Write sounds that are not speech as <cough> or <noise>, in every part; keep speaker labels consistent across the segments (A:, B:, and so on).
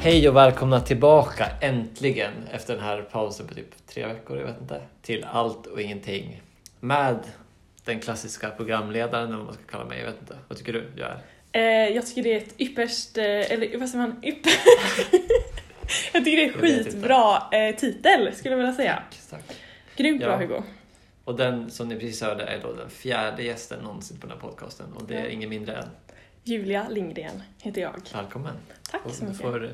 A: Hej och välkomna tillbaka äntligen efter den här pausen på typ tre veckor, jag vet inte, till Allt och ingenting med den klassiska programledaren, eller vad man ska kalla mig, jag vet inte. Vad tycker du jag är?
B: Eh, jag tycker det är ett ypperst, eh, eller vad säger man, ypper... <laughs> jag tycker det är
A: Jag vet inte.
B: skitbra eh, titel skulle jag vilja säga.
A: Tack, tack.
B: Grymt bra
A: Ja.
B: Hugo.
A: Och den som ni precis hörde är då den fjärde gästen någonsin på den här podcasten och det är
B: Ja.
A: ingen mindre än
B: Julia Lindgren heter jag.
A: välkommen.
B: Tack
A: Och
B: så
A: du
B: mycket.
A: får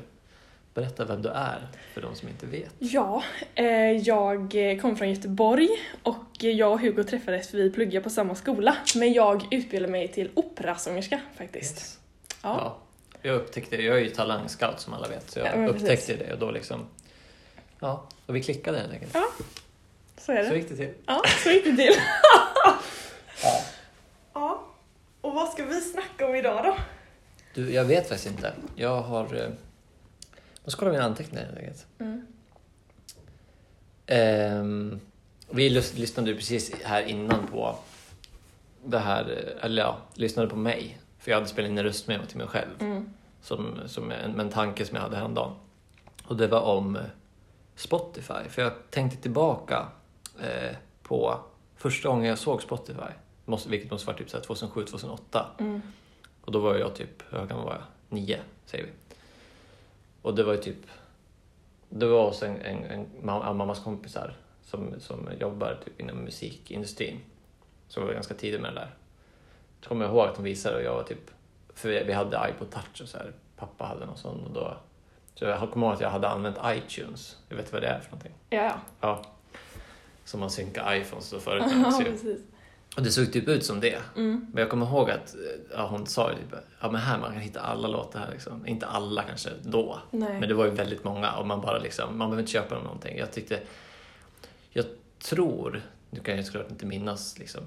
A: berätta vem du är för de som inte vet.
B: Ja, eh, jag eh, kom från Göteborg och eh, jag och Hugo träffades för vi pluggade på samma skola. Men jag utbildade mig till operasångerska faktiskt.
A: Yes.
B: Ja.
A: Ja. Jag upptäckte det, jag är ju talangscout som alla vet, så jag
B: Ja, men
A: upptäckte
B: precis.
A: det och då liksom, ja, och vi klickade helt enkelt.
B: så är det.
A: Så gick det till.
B: Ja, så gick det till.
A: <laughs>
B: ja, och vad ska vi snacka om idag då?
A: Du, jag vet faktiskt inte. Jag har... eh, Jag måste kolla mina anteckningar helt enkelt.
B: Mm.
A: Ehm, vi lys- lyssnade ju precis här innan på det här, eh, eller ja, lyssnade på mig. För jag hade spelat in en röstmemo till mig själv
B: Mm.
A: som, som en, med en tanke som jag hade häromdagen. Och det var om eh, Spotify. För jag tänkte tillbaka eh, på första gången jag såg Spotify, måste, vilket måste vara typ 2007-2008.
B: Mm.
A: Och då var jag typ, hur gammal var jag? Nio, säger vi. Och det var ju typ, det var också en, en, en ma- mammas kompisar som, som jobbar typ inom musikindustrin. Så var ganska tidig med det där. Så kommer jag ihåg att de visade och jag var typ, för vi, vi hade iPod touch och så här, pappa hade någon sån och då, så jag kommer ihåg att jag hade använt iTunes, jag vet vad det är för någonting.
B: Ja, ja.
A: Ja. Som man synkar iPhones då förut.
B: <laughs> ja
A: Så-
B: precis.
A: Och det såg typ ut som det.
B: Mm.
A: Men jag kommer ihåg att eh, ja, hon sa ju typ, ja men här man kan hitta alla låtar här liksom. Inte alla kanske då,
B: Nej.
A: men det var ju väldigt många och man bara liksom, man behöver inte köpa dem någonting. Jag tyckte, jag tror, nu kan jag såklart inte minnas liksom,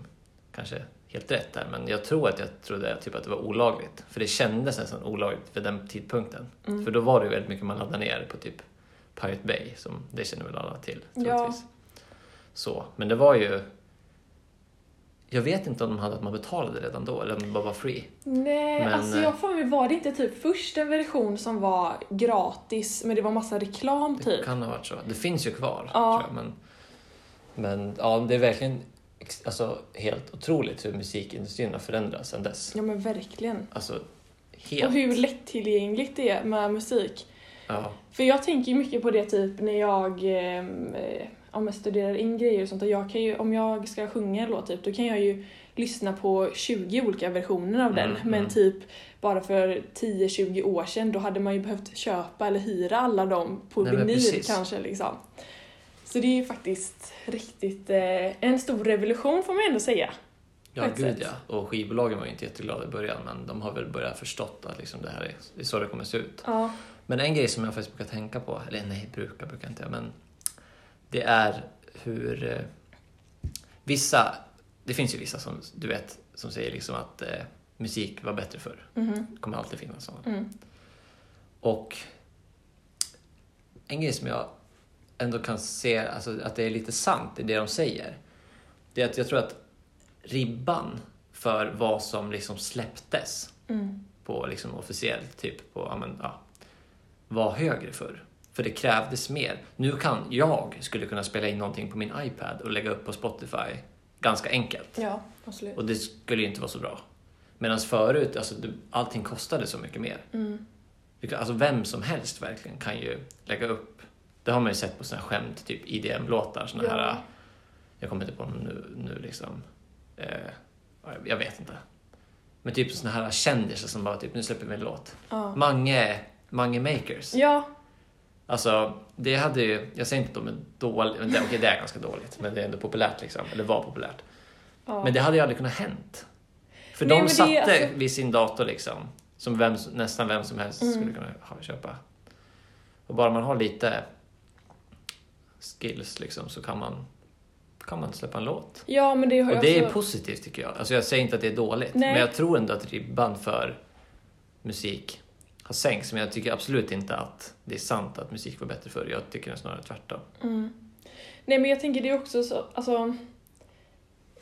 A: kanske helt rätt där, men jag tror att jag trodde typ att det var olagligt. För det kändes nästan olagligt vid den tidpunkten.
B: Mm.
A: För då var det ju väldigt mycket man laddade ner på typ Pirate Bay, som det känner väl alla till
B: Ja.
A: troligtvis. Så, men det var ju jag vet inte om de hade att man betalade redan då eller om det bara var free.
B: Nej,
A: Men,
B: alltså
A: eh,
B: jag får mig, var det inte typ först en version som var gratis men det var massa reklam
A: Det
B: typ?
A: kan ha varit så. Det finns ju kvar.
B: Ja.
A: Tror jag, men, men ja, det är verkligen ex- alltså, helt otroligt hur musikindustrin har förändrats sedan dess.
B: Ja men verkligen.
A: Alltså,
B: Och
A: helt.
B: hur lättillgängligt det är med musik.
A: Ja,
B: För jag tänker ju mycket på det typ när jag ehm, eh, om jag studerar in grejer och sånt. Och jag kan ju, om jag ska sjunga en låt typ, då kan jag ju lyssna på 20 olika versioner av den.
A: Mm,
B: Men
A: mm.
B: typ bara för 10-20 år sedan då hade man ju behövt köpa eller hyra alla dem på
A: Nej, men
B: vinyl
A: precis.
B: kanske. Liksom. Så det är ju faktiskt riktigt eh, en stor revolution får man ändå säga.
A: ja
B: På ett
A: gud
B: sätt.
A: ja. Och skivbolagen var ju inte jätteglada i början men de har väl börjat förstått att liksom, det här är, det är så det kommer se ut.
B: Ja.
A: Men en grej som jag faktiskt brukar tänka på, eller nej, brukar, brukar inte jag, men det är hur eh, vissa, det finns ju vissa som du vet, som säger liksom att eh, musik var bättre förr.
B: Mhm.
A: Det kommer alltid finnas sådana.
B: Mm.
A: Och en grej som jag ändå kan se, alltså att det är lite sant i det de säger, det är att jag tror att ribban för vad som liksom släpptes
B: Mm.
A: på liksom officiellt, typ på, ja, men, ja, var högre förr. För det krävdes mer. Nu kan jag, skulle kunna spela in någonting på min iPad och lägga upp på Spotify ganska enkelt.
B: Ja, absolut.
A: Och det skulle ju inte vara så bra. Medan förut, alltså, det- allting kostade så mycket mer.
B: Mm.
A: Vilka- Alltså vem som helst verkligen kan ju lägga upp. Det har man ju sett på såna här skämt, typ IDM-låtar, såna
B: Ja.
A: här... äh, Jag kommer inte på dem nu, nu liksom. Eh, ja, jag vet inte. Men typ såna här kändisar som bara typ, nu släpper vi en låt.
B: Ja.
A: Mange, Mange Makers.
B: ja,
A: Alltså, det hade ju, jag säger inte att de är dåliga, men det- okej det är ganska dåligt, men det är ändå populärt liksom, eller var populärt.
B: Ja.
A: Men det hade ju aldrig kunnat hänt. För
B: Nej, men
A: de
B: det är
A: satte
B: alltså-
A: vid sin dator liksom, som vem, som- nästan vem som helst
B: Mm.
A: skulle kunna ha, köpa. Och bara man har lite skills liksom så kan man, kan man släppa en låt.
B: ja men det har
A: Och
B: jag
A: det är
B: också-
A: positivt tycker jag. Alltså jag säger inte att det är dåligt,
B: Nej.
A: men jag tror ändå att ribban för musik har sänkts. Men jag tycker absolut inte att det är sant att musik var bättre förr. Jag tycker snarare tvärtom.
B: Mm. Nej men jag tänker det är också så, alltså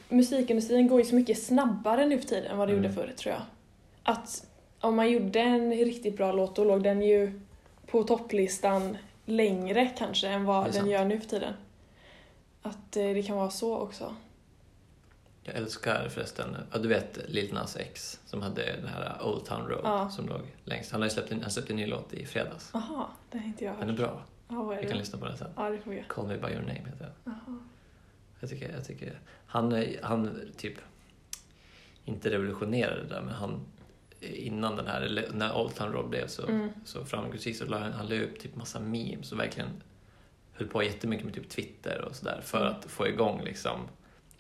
B: musikindustrin går ju så mycket snabbare nu för tiden än vad det
A: Mm.
B: gjorde förr tror jag. Att om man gjorde en riktigt bra låt då låg den ju på topplistan längre kanske än
A: Det är
B: vad den
A: sant.
B: gör nu för tiden. Att eh, det kan vara så också.
A: Jag älskar förresten, ja, du vet Lil Nas X som hade den här Old Town Road
B: Ja.
A: som låg längst. Han har ju släppt en, han släppte en ny låt i fredags.
B: Aha, det har inte jag
A: Den är
B: hört.
A: bra,
B: Ja, vad är
A: vi kan
B: det?
A: lyssna på den sen.
B: Ja, det får vi göra.
A: Call Me By Your Name heter den.
B: Aha.
A: Jag tycker, jag tycker, han, är- han typ, inte revolutionerade det där men han, innan den här, eller när Old Town Road blev så
B: Mm.
A: så framgångsrik så la han, han la upp typ massa memes och verkligen höll på jättemycket med typ Twitter och sådär för
B: Mm.
A: att få igång liksom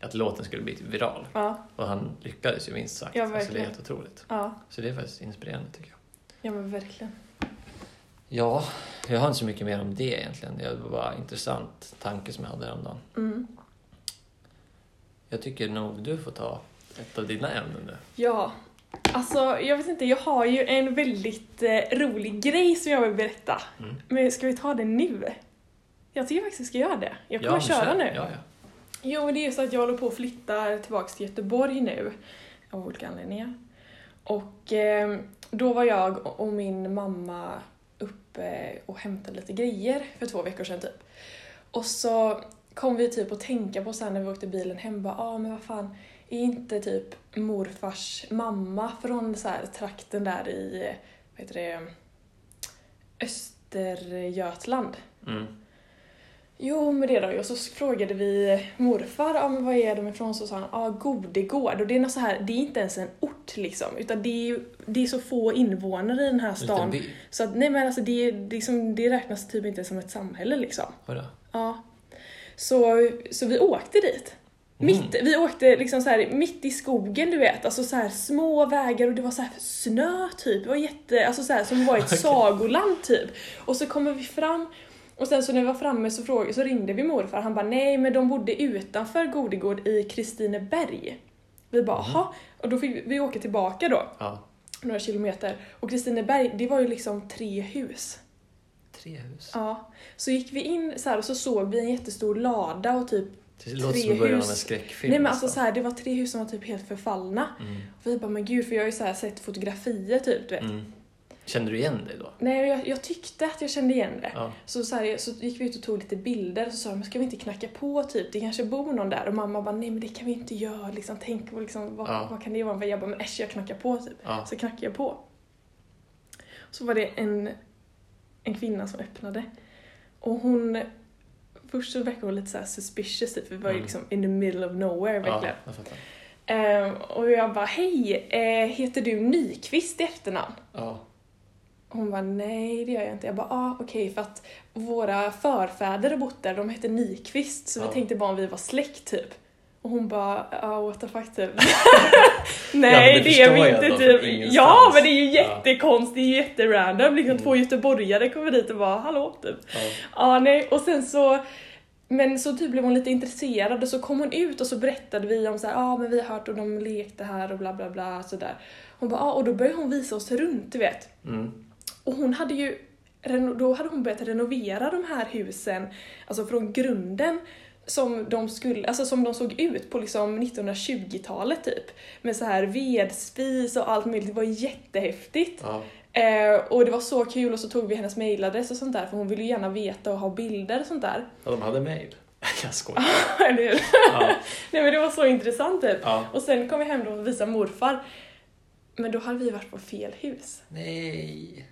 A: att låten skulle bli typ viral.
B: Ja,
A: Och han lyckades ju minst sagt.
B: Ja,
A: alltså det är
B: verkligen.
A: helt otroligt.
B: ja,
A: Så det är faktiskt inspirerande tycker jag.
B: ja men verkligen.
A: Ja, jag har inte så mycket mer om det egentligen. Det var bara en intressant tanke som jag hade häromdagen.
B: Mm.
A: Jag tycker nog du får ta ett av dina ämnen nu.
B: Ja, alltså jag vet inte, jag har ju en väldigt eh, rolig grej som jag vill berätta.
A: Mm.
B: Men ska vi ta det nu? Jag tycker faktiskt vi ska göra det. Jag kommer
A: men
B: köra
A: kör.
B: nu.
A: Ja, ja.
B: Jo, men det är så att jag håller på att flytta tillbaka till Göteborg nu. Av olika anledningar. Och eh, då var jag och min mamma uppe och hämtade lite grejer för två veckor sedan typ. Och så kom vi typ att tänka på sen när vi åkte bilen hem, bara ah, men vad fan, är inte typ morfars mamma från så här trakten där i, vad heter det, Östergötland?
A: Mm.
B: Jo, men det då. Och så frågade vi morfar, ja men vad är de ifrån? Så sa han, ja Godegård. Och det är något så här, det är inte ens en ort liksom, utan det är, ju- det är så få invånare i den här
A: En liten
B: stan.
A: by.
B: Så att, nej men alltså det, är- det, är som, det räknas typ inte som ett samhälle liksom.
A: Vadå?
B: Ja. Så, så vi åkte dit.
A: Mm.
B: Mitt, Vi åkte liksom så här, mitt i skogen, du vet. Alltså så här, små vägar och det var så här snö typ. Det var jätte, alltså så här, som var i ett
A: <laughs> Okej.
B: sagoland typ. Och så kommer vi fram och sen så när vi var framme så, frågade, så ringde vi morfar. Han bara nej, men de bodde utanför Godegård i Kristineberg. Vi bara
A: Mm.
B: jaha. Och då fick vi, vi åka tillbaka då,
A: Ja.
B: några kilometer. Och Kristineberg, det var ju liksom tre hus.
A: Tre hus.
B: Ja, så gick vi in så här och så såg vi en jättestor lada och typ
A: Det låter
B: Tre
A: som början av en
B: hus.
A: skräckfilm.
B: Nej men alltså så
A: nästan.
B: här, det var tre hus som var typ helt förfallna.
A: Mm.
B: Och vi bara men gud för jag har ju så här sett fotografier typ du vet.
A: Mm. Kände du igen dig då?
B: Nej jag, jag tyckte att jag kände igen det.
A: Ja.
B: Så, så, här, så gick vi ut och tog lite bilder och så sa de, men ska vi inte knacka på typ, det kanske bor någon där? Och mamma bara nej men det kan vi inte göra liksom, tänk på liksom, vad,
A: Ja.
B: vad kan det vara? Jag bara men äsch jag knackar på typ.
A: ja.
B: Så knackade jag på. Så var det en, en kvinna som öppnade. Och hon... Först så verkade hon lite så här suspicious, typ. vi var ju
A: Mm.
B: liksom in the middle of nowhere
A: ja,
B: verkligen.
A: jag fattar.
B: Ehm, och jag bara, hej, eh, heter du Nyqvist i efternamn?
A: Ja.
B: Och Hon bara, nej det gör jag inte. Jag bara, ah, okej för att våra förfäder har bott där, de hette Nyqvist så
A: Ja.
B: vi tänkte bara om vi var släkt typ. Och hon bara, ja what the
A: <laughs>
B: fuck typ. nej
A: men det
B: det är
A: förstår
B: vi
A: jag
B: inte
A: då,
B: typ.
A: från ingenstans.
B: Ja men det är ju
A: Ja.
B: jättekonstigt, det är ju jätterandom. Liksom
A: Mm.
B: två göteborgare kommer dit och bara, hallå typ.
A: ja.
B: Ja, nej, och sen så men så typ blev hon lite intresserad och så kom hon ut och så berättade vi om så här, ja ah, men vi har hört och de lekte här och bla bla bla sådär. Hon bara, ah, och då började hon visa oss runt du vet.
A: Mm.
B: Och hon hade ju, reno- då hade hon börjat renovera de här husen, alltså från grunden, som de, skulle, alltså som de såg ut på liksom 1920-talet typ. Med så här vedspis och allt möjligt, det var jättehäftigt.
A: Ja.
B: Eh, och det var så kul och så tog vi hennes mailadress och sånt där för hon ville ju gärna veta och ha bilder och sånt där. <laughs>
A: ja, de hade mail. <laughs> Jag skojar.
B: Eller hur?
A: Ja.
B: Nej men det var så intressant typ.
A: ja.
B: Och sen kom vi hem då och visade morfar. Men då hade vi varit på fel hus.
A: Nej.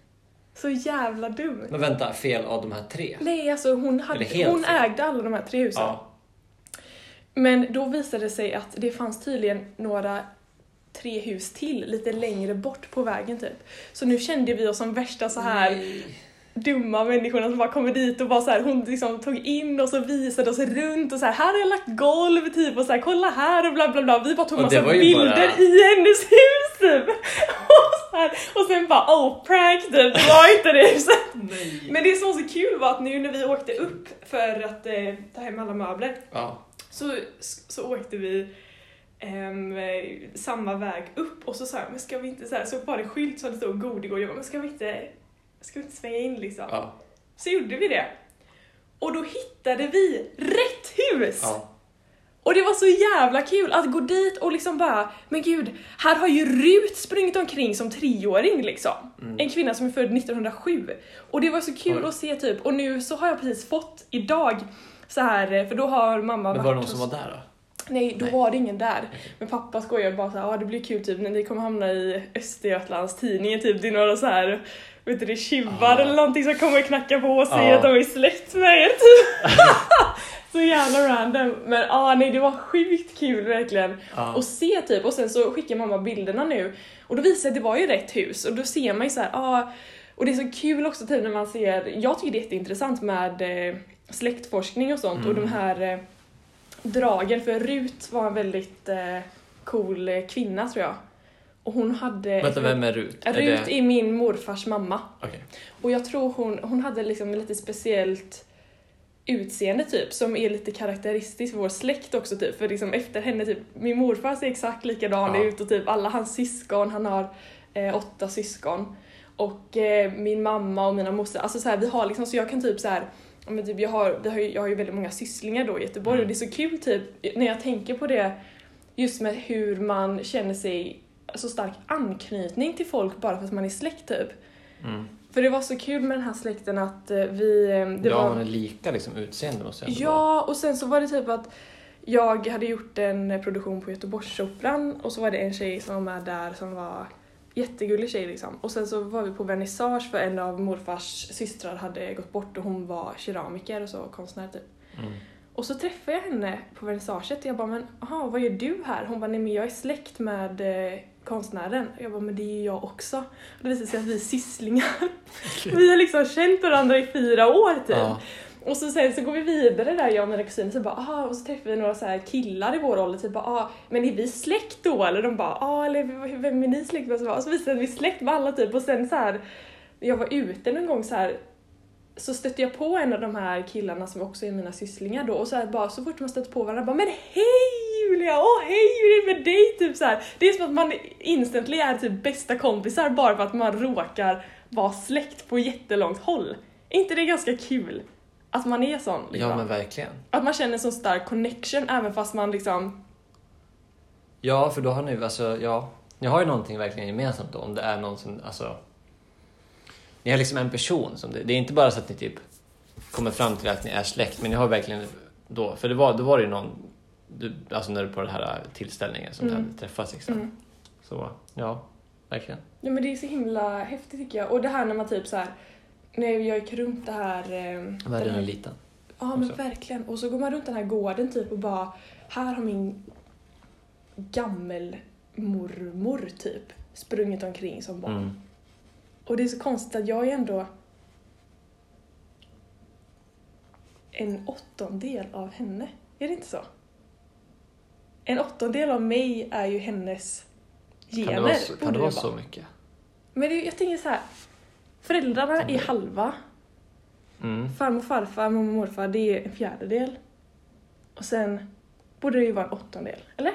B: Så jävla dumt.
A: Men vänta, fel av de här tre?
B: Nej alltså hon, hade,
A: Eller helt
B: hon
A: fel.
B: ägde alla de här tre husen.
A: Ja.
B: Men då visade det sig att det fanns tydligen några tre hus till lite längre bort på vägen typ. Så nu kände vi oss som värsta så här
A: Nej.
B: dumma människorna som bara kommer dit och bara så här, hon liksom tog in oss och visade oss runt och så här, här har jag lagt golv typ och så här, kolla här och bla bla bla. Vi bara tog
A: Och det
B: massa
A: var ju
B: bilder
A: bara-
B: i hennes hus typ. <laughs> Och, så här, och sen bara oh prank typ, det var inte det huset.
A: Nej.
B: Men det som var så kul var att nu när vi åkte upp för att eh, ta hem alla möbler
A: Ja.
B: så, så åkte vi ehm, eh, samma väg upp och så sa jag, men ska vi inte så här, så var det skylt som det stod Godegård, jag bara, men ska vi inte, ska vi inte svänga in liksom?
A: Ja.
B: Så gjorde vi det. Och då hittade vi rätt hus!
A: ja.
B: Och det var så jävla kul att gå dit och liksom bara, men gud, här har ju Rut sprungit omkring som treåring liksom. En kvinna som är född 1907. Och det var så kul
A: Mm. Oj.
B: att se typ, och nu så har jag precis fått idag så här, för då har mamma
A: Men var det någon
B: hos-
A: som var där då?
B: Nej, då
A: Nej.
B: var det ingen där. Men pappa skojade bara såhär, ja det blir kul typ när ni kommer hamna i Östergötlands tidningen typ, det är några så här vet du det, tjuvar
A: Ah.
B: eller någonting som kommer och knackar på och säger
A: Ah.
B: att de är släkt med er typ.
A: <laughs>
B: <laughs> så jävla random. Men ja, ah, nej det var sjukt kul verkligen.
A: Ja.
B: Och se typ, och sen så skickar mamma bilderna nu och då visar det, det var ju rätt hus och då ser man ju såhär, ja ah, och det är så kul också typ när man ser, jag tycker det är jätteintressant med eh, släktforskning och sånt och
A: Mm.
B: de här eh, dragen för Rut var en väldigt eh, cool eh, kvinna tror jag. Och hon hade...
A: Vänta, vem är Rut? Är
B: Rut
A: det...
B: är min morfars mamma.
A: Okej.
B: Och jag tror hon, hon hade liksom lite speciellt utseende typ som är lite karaktäristiskt för vår släkt också typ för liksom efter henne typ min morfar ser exakt likadan
A: Ja.
B: ut och typ alla hans syskon, han har eh, åtta syskon och eh, min mamma och mina moster, alltså så här, vi har liksom så jag kan typ så här ja, men typ, jag, har, vi har ju, jag har ju väldigt många sysslingar då i Göteborg
A: Mm.
B: och det är så kul typ när jag tänker på det just med hur man känner sig så stark anknytning till folk bara för att man är släkt typ.
A: Mm.
B: För det var så kul med den här släkten att eh, vi... eh, Det
A: Ja,
B: var,
A: hon är lika liksom utseende måste jag ändå vara.
B: ja, och sen så var det typ att jag hade gjort en eh, produktion på Göteborgsoperan och så var det en tjej som var med där som var jättegullig tjej liksom. Och sen så var vi på vernissage för en av morfars systrar hade gått bort och hon var keramiker och så konstnär typ.
A: Mm.
B: Och så träffade jag henne på vernissaget och jag bara men aha, vad gör du här? Hon bara nej men jag är släkt med eh, konstnären. Och jag bara men det är ju jag också. Och det visade sig att vi är sysslingar. vi har liksom känt varandra i fyra år typ.
A: Ja.
B: Och så sen så går vi vidare där jag och mina kusiner så bara aha, och så träffar vi några så här killar i vår ålder typ bara ah, men är vi släkt då? Eller de bara ah, eller v- vem är ni släkt med? Och så, bara, och så visade vi släkt med alla typ och sen så här jag var ute någon gång så här så stötte jag på en av de här killarna som också är mina sysslingar då och så här bara så fort man stötte på varandra bara men hej Julia, åh hej hur är det med dig? Typ så här. Det är som att man instantly är typ bästa kompisar bara för att man råkar vara släkt på jättelångt håll. Är inte det ganska kul? Att man är sån liksom.
A: ja, men verkligen.
B: Att man känner sån stark connection även fast man liksom,
A: Ja, för då har ni alltså, ja. Ni har ju någonting verkligen gemensamt då, om det är någon som, alltså. Ni har liksom en person som, det, det är inte bara så att ni typ kommer fram till att ni är släkt, men ni har verkligen då, för det var, då var det ju någon, du, alltså när du på den här tillställningen som ni
B: Mm.
A: hade träffats liksom.
B: mm.
A: Så, ja, verkligen.
B: Ja men det är så himla häftigt tycker jag. Och det här när man typ så här, när jag gick runt det här... eh, den
A: Världen
B: här-
A: är liten.
B: Ja men
A: Också.
B: verkligen. Och så går man runt den här gården typ och bara här har min gammelmormor typ sprungit omkring som barn.
A: Mm.
B: Och det är så konstigt att jag är ändå en åttondel av henne. Är det inte så? En åttondel av mig är ju hennes gener.
A: Kan det vara, så-
B: borde
A: kan det
B: jag
A: vara
B: bara.
A: så mycket?
B: Men det, är- jag tänker så här. Föräldrarna är halva.
A: Mm.
B: Farmor och farfar, mormor och morfar, det är en fjärdedel. Och sen borde det ju vara en åttondel, eller?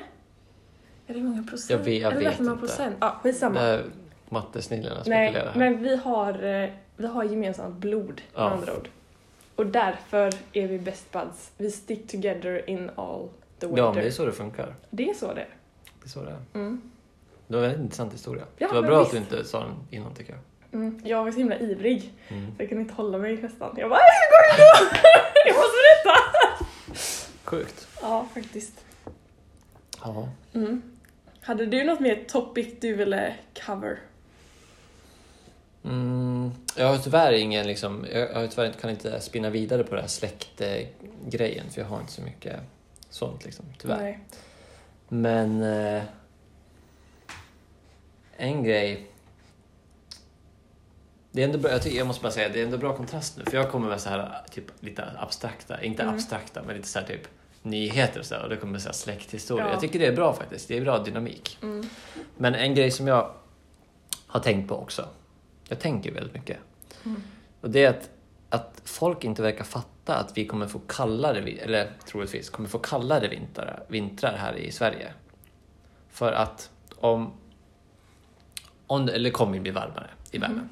B: Är det många procent?
A: Jag vet- jag
B: eller
A: vet
B: räknar man
A: inte.
B: procent? Ja, skitsamma.
A: Det är mattesnillena
B: Nej,
A: spekulerar här.
B: men vi har, eh, vi har gemensamt blod med
A: Ja.
B: andra ord. Och därför är vi best buds. Vi stick together in all the weather.
A: Ja, men det är så det funkar.
B: Det är så det är.
A: Det är så det är.
B: Mm.
A: Det var en väldigt intressant historia.
B: Ja,
A: det var
B: men
A: bra
B: visst.
A: att du inte sa den innan tycker jag.
B: Mm. Jag var så himla ivrig.
A: Mm.
B: Jag kunde inte hålla mig nästan. Jag bara, hur går det då? <laughs> jag måste berätta!
A: Sjukt.
B: Ja, faktiskt.
A: Ja.
B: Mm. Hade du något mer topic du ville cover?
A: Mm, jag har tyvärr ingen liksom, jag, jag har tyvärr inte- kan inte spinna vidare på den här släktgrejen för jag har inte så mycket sånt liksom, tyvärr.
B: Nej.
A: Men eh, en grej. Det är ändå bra, jag, tycker, jag måste bara säga, det är ändå bra kontrast nu för jag kommer med så här typ lite abstrakta, inte
B: Mm.
A: abstrakta men lite så här typ nyheter och så här, och det kommer så här släkthistoria.
B: Ja.
A: Jag tycker det är bra faktiskt, det är bra dynamik.
B: Mm.
A: Men en grej som jag har tänkt på också. Jag tänker väldigt mycket.
B: Mm.
A: Och det är att, att folk inte verkar fatta att vi kommer få kallare, vi- eller troligtvis kommer få kallare vintrar, vintrar här i Sverige. För att om... om det- eller det kommer ju bli varmare i världen.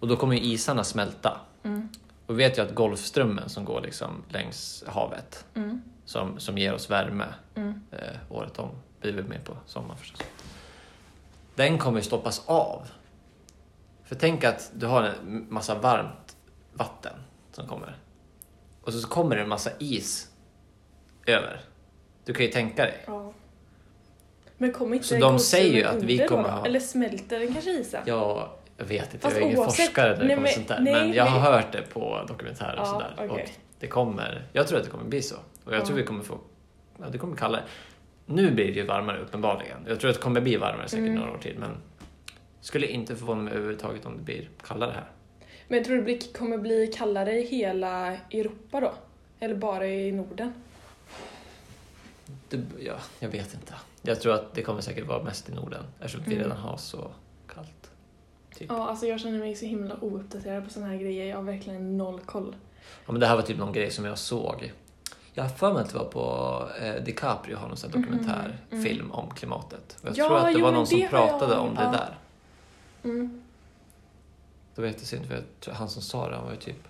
A: Och då kommer ju isarna smälta.
B: Mm.
A: Och vi vet ju att Golfströmmen som går liksom längs havet,
B: Mm.
A: som, som ger oss värme
B: Mm.
A: eh, året om. Vi är väl med på sommaren förstås. Den kommer ju stoppas av. För tänk att du har en massa varmt vatten som kommer. Och så kommer det en massa is över. Du kan ju tänka dig.
B: Ja. Men kommer inte
A: Så de säger ju
B: kossinen
A: att vi
B: under
A: kommer
B: då?
A: ha-
B: Eller smälter den kanske isen?
A: Jag vet inte,
B: Fast
A: jag är ingen
B: oavsett-
A: forskare när det
B: nej,
A: kommer
B: men-
A: sånt där.
B: nej,
A: men jag har
B: nej.
A: hört det på dokumentärer och
B: Ja,
A: sådär. Och
B: okej.
A: det kommer, jag tror att det kommer bli så. Och jag
B: Ja.
A: tror vi kommer få, ja, det kommer kallare. Nu blir det ju varmare uppenbarligen. Jag tror att det kommer bli varmare säkert
B: Mm.
A: några år till. Men skulle inte förvåna mig överhuvudtaget om det blir kallare här.
B: Men jag tror det blir, kommer bli kallare i hela Europa då? Eller bara i Norden?
A: Det, ja, jag vet inte. Jag tror att det kommer säkert vara mest i Norden eftersom vi
B: Mm.
A: redan har så kallt. Typ.
B: Ja, alltså jag känner mig så himla ouppdaterad på sådana här grejer. Jag har verkligen noll koll.
A: Ja, men det här var typ någon grej som jag såg. Jag har för mig att det var på eh, DiCaprio har någon sån här
B: Mhm,
A: dokumentärfilm om klimatet. Och jag
B: Ja,
A: tror att det
B: jo,
A: var
B: men
A: någon som
B: det har jag-
A: pratade om det
B: ja.
A: där.
B: Mm.
A: Det var jättesynd för jag tror, han som sa det, han var ju typ...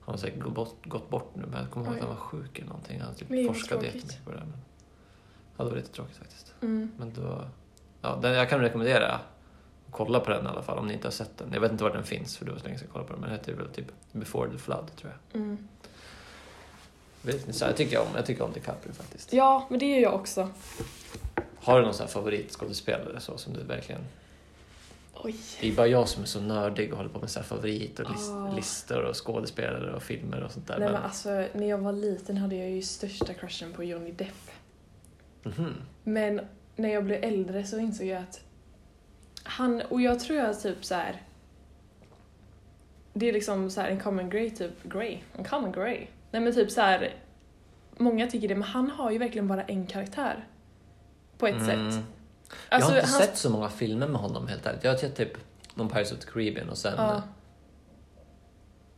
A: Han har säkert gått bort, gått bort nu men jag kommer ihåg att
B: Oj.
A: han var sjuk eller någonting. Han typ
B: Det är ju
A: forskade
B: tråkigt.
A: jättemycket på det där. Men... Ja, det var lite tråkigt faktiskt.
B: Mm.
A: Men det var... Ja, den, jag kan rekommendera att kolla på den i alla fall om ni inte har sett den. Jag vet inte var den finns för det var så länge sedan jag kollade på den. Men den heter väl typ Before the Flood tror jag.
B: Mm.
A: Väldigt intressant. Jag tycker om, jag tycker om DiCaprio faktiskt.
B: Ja, men det är jag också.
A: Har du någon sån här favoritskådespelare så som du verkligen...
B: Oj.
A: Det är bara jag som är så nördig och håller på med så här favorit och lis-
B: Ah.
A: listor och skådespelare och filmer och sånt där.
B: Nej men alltså, när jag var liten hade jag ju största crushen på Johnny Depp.
A: Mhm.
B: Men när jag blev äldre så insåg jag att han, och jag tror jag typ så här. Det är liksom så här en common grey typ, grey, en common grey. Nej men typ så här. många tycker det men han har ju verkligen bara en karaktär. På ett
A: Mm.
B: sätt. Alltså,
A: Jag har inte
B: han,
A: sett så många filmer med honom helt ärligt. Jag har sett typ någon Pirates of the Caribbean och sen
B: Ja.
A: eh,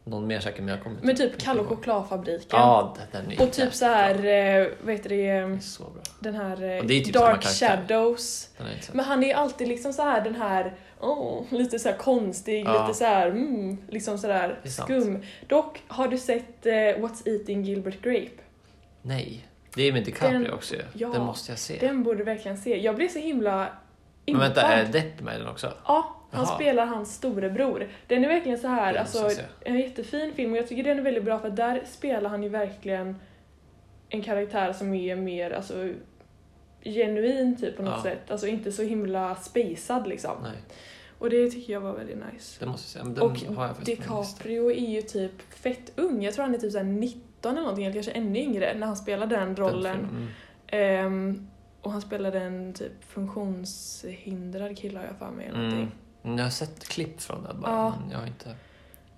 A: någon mer säkert men jag kommer
B: Men typ
A: inte
B: Kalle och
A: ihåg.
B: chokladfabriken.
A: Ja, den- den är
B: och typ så här, eh, vad heter det,
A: Den
B: eh,
A: är så bra.
B: den här eh,
A: Och det är typ samma
B: Dark
A: karaktär.
B: Shadows.
A: Den är inte sett.
B: Men han är ju alltid liksom så här den här, åh, lite så här konstig,
A: Ja.
B: lite så här, mm, liksom så där
A: Det är sant.
B: skum. Dock, har du sett eh, What's Eating Gilbert Grape?
A: Nej, det är med DiCaprio
B: Den-
A: också ju.
B: ja,
A: Den måste jag se.
B: Den borde du verkligen se. Jag blev så himla
A: Men vänta,
B: impad.
A: är Depp med i den också?
B: Ja, han
A: Jaha.
B: spelar hans storebror. Den är verkligen så här,
A: Den
B: alltså
A: måste jag
B: en jättefin film och jag tycker den är väldigt bra för att där spelar han ju verkligen en karaktär som är mer, alltså genuin typ på något
A: Ja.
B: sätt. Alltså inte så himla spejsad liksom.
A: Nej,
B: Och det tycker jag var väldigt nice.
A: den måste jag se. Men den
B: Och
A: har jag faktiskt på min lista.
B: DiCaprio är ju typ fett ung. Jag tror han är typ såhär 19 eller någonting, eller kanske ännu yngre, när han spelade den
A: Den
B: rollen.
A: filmen, mm.
B: Ehm, och han spelade en typ funktionshindrad kille har jag för mig. eller
A: Mm.
B: någonting.
A: Jag har sett klipp från den bara,
B: Ja.
A: men jag har inte...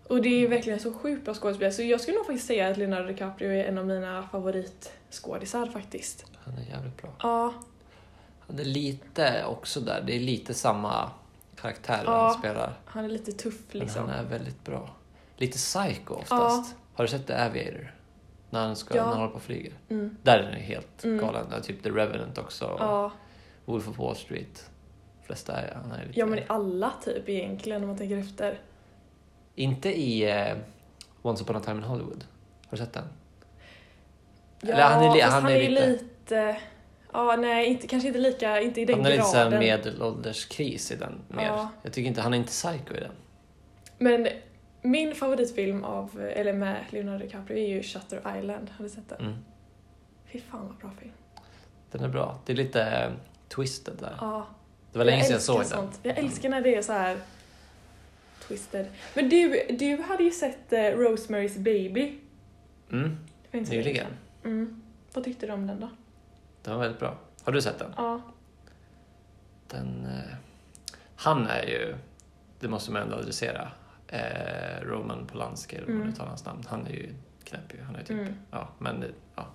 B: Och det är verkligen så sjukt bra skådespelare. Så jag skulle nog faktiskt säga att Leonardo DiCaprio är en av mina favoritskådisar faktiskt.
A: Han är jävligt bra.
B: Ja,
A: Han är lite också där, det är lite samma karaktär
B: Ja,
A: han spelar.
B: han är lite tuff
A: Men
B: liksom.
A: han är väldigt bra. Lite psycho oftast. Har du sett The Aviator? När han, ska,
B: Ja.
A: när han håller på och flyger.
B: Mm.
A: Där är den ju helt
B: Mm.
A: galen. Ja, Typ The Revenant också. och
B: Ja.
A: Wolf of Wall Street. De flesta är, han är lite...
B: ja, men alla typ egentligen om man tänker efter.
A: Inte i eh, Once upon a time in Hollywood. Har du sett den?
B: Ja,
A: Eller han är li-
B: fast
A: han
B: han
A: är
B: är ju
A: lite-
B: lite... Ja, nej, inte, kanske inte lika, inte i den
A: Han är
B: graden.
A: lite såhär medelålderskris i den. Mer.
B: Ja.
A: Jag tycker inte, han är inte psycho i den.
B: Men min favoritfilm av, eller med Leonardo DiCaprio är ju Shutter Island. Har du sett den?
A: Mm.
B: Fy fan vad bra film.
A: Den är bra. Det är lite eh, twisted där.
B: Ja,
A: Det var länge sedan jag
B: älskar
A: såg den.
B: sånt. Jag älskar när det är så här twisted. Men du, du hade ju sett eh, Rosemary's Baby.
A: Mm,
B: Det var inte så länge
A: nyligen.
B: sedan. Mm. Vad tyckte du om den då?
A: Den var väldigt bra. Har du sett den?
B: Ja.
A: den eh, han är ju, det måste man ändå adressera, eh, Roman Polanski, eller hur man
B: Mm.
A: uttalar hans namn. Han är ju knäpp ju. Han är typ,
B: Mm.
A: ja, men eh, ja.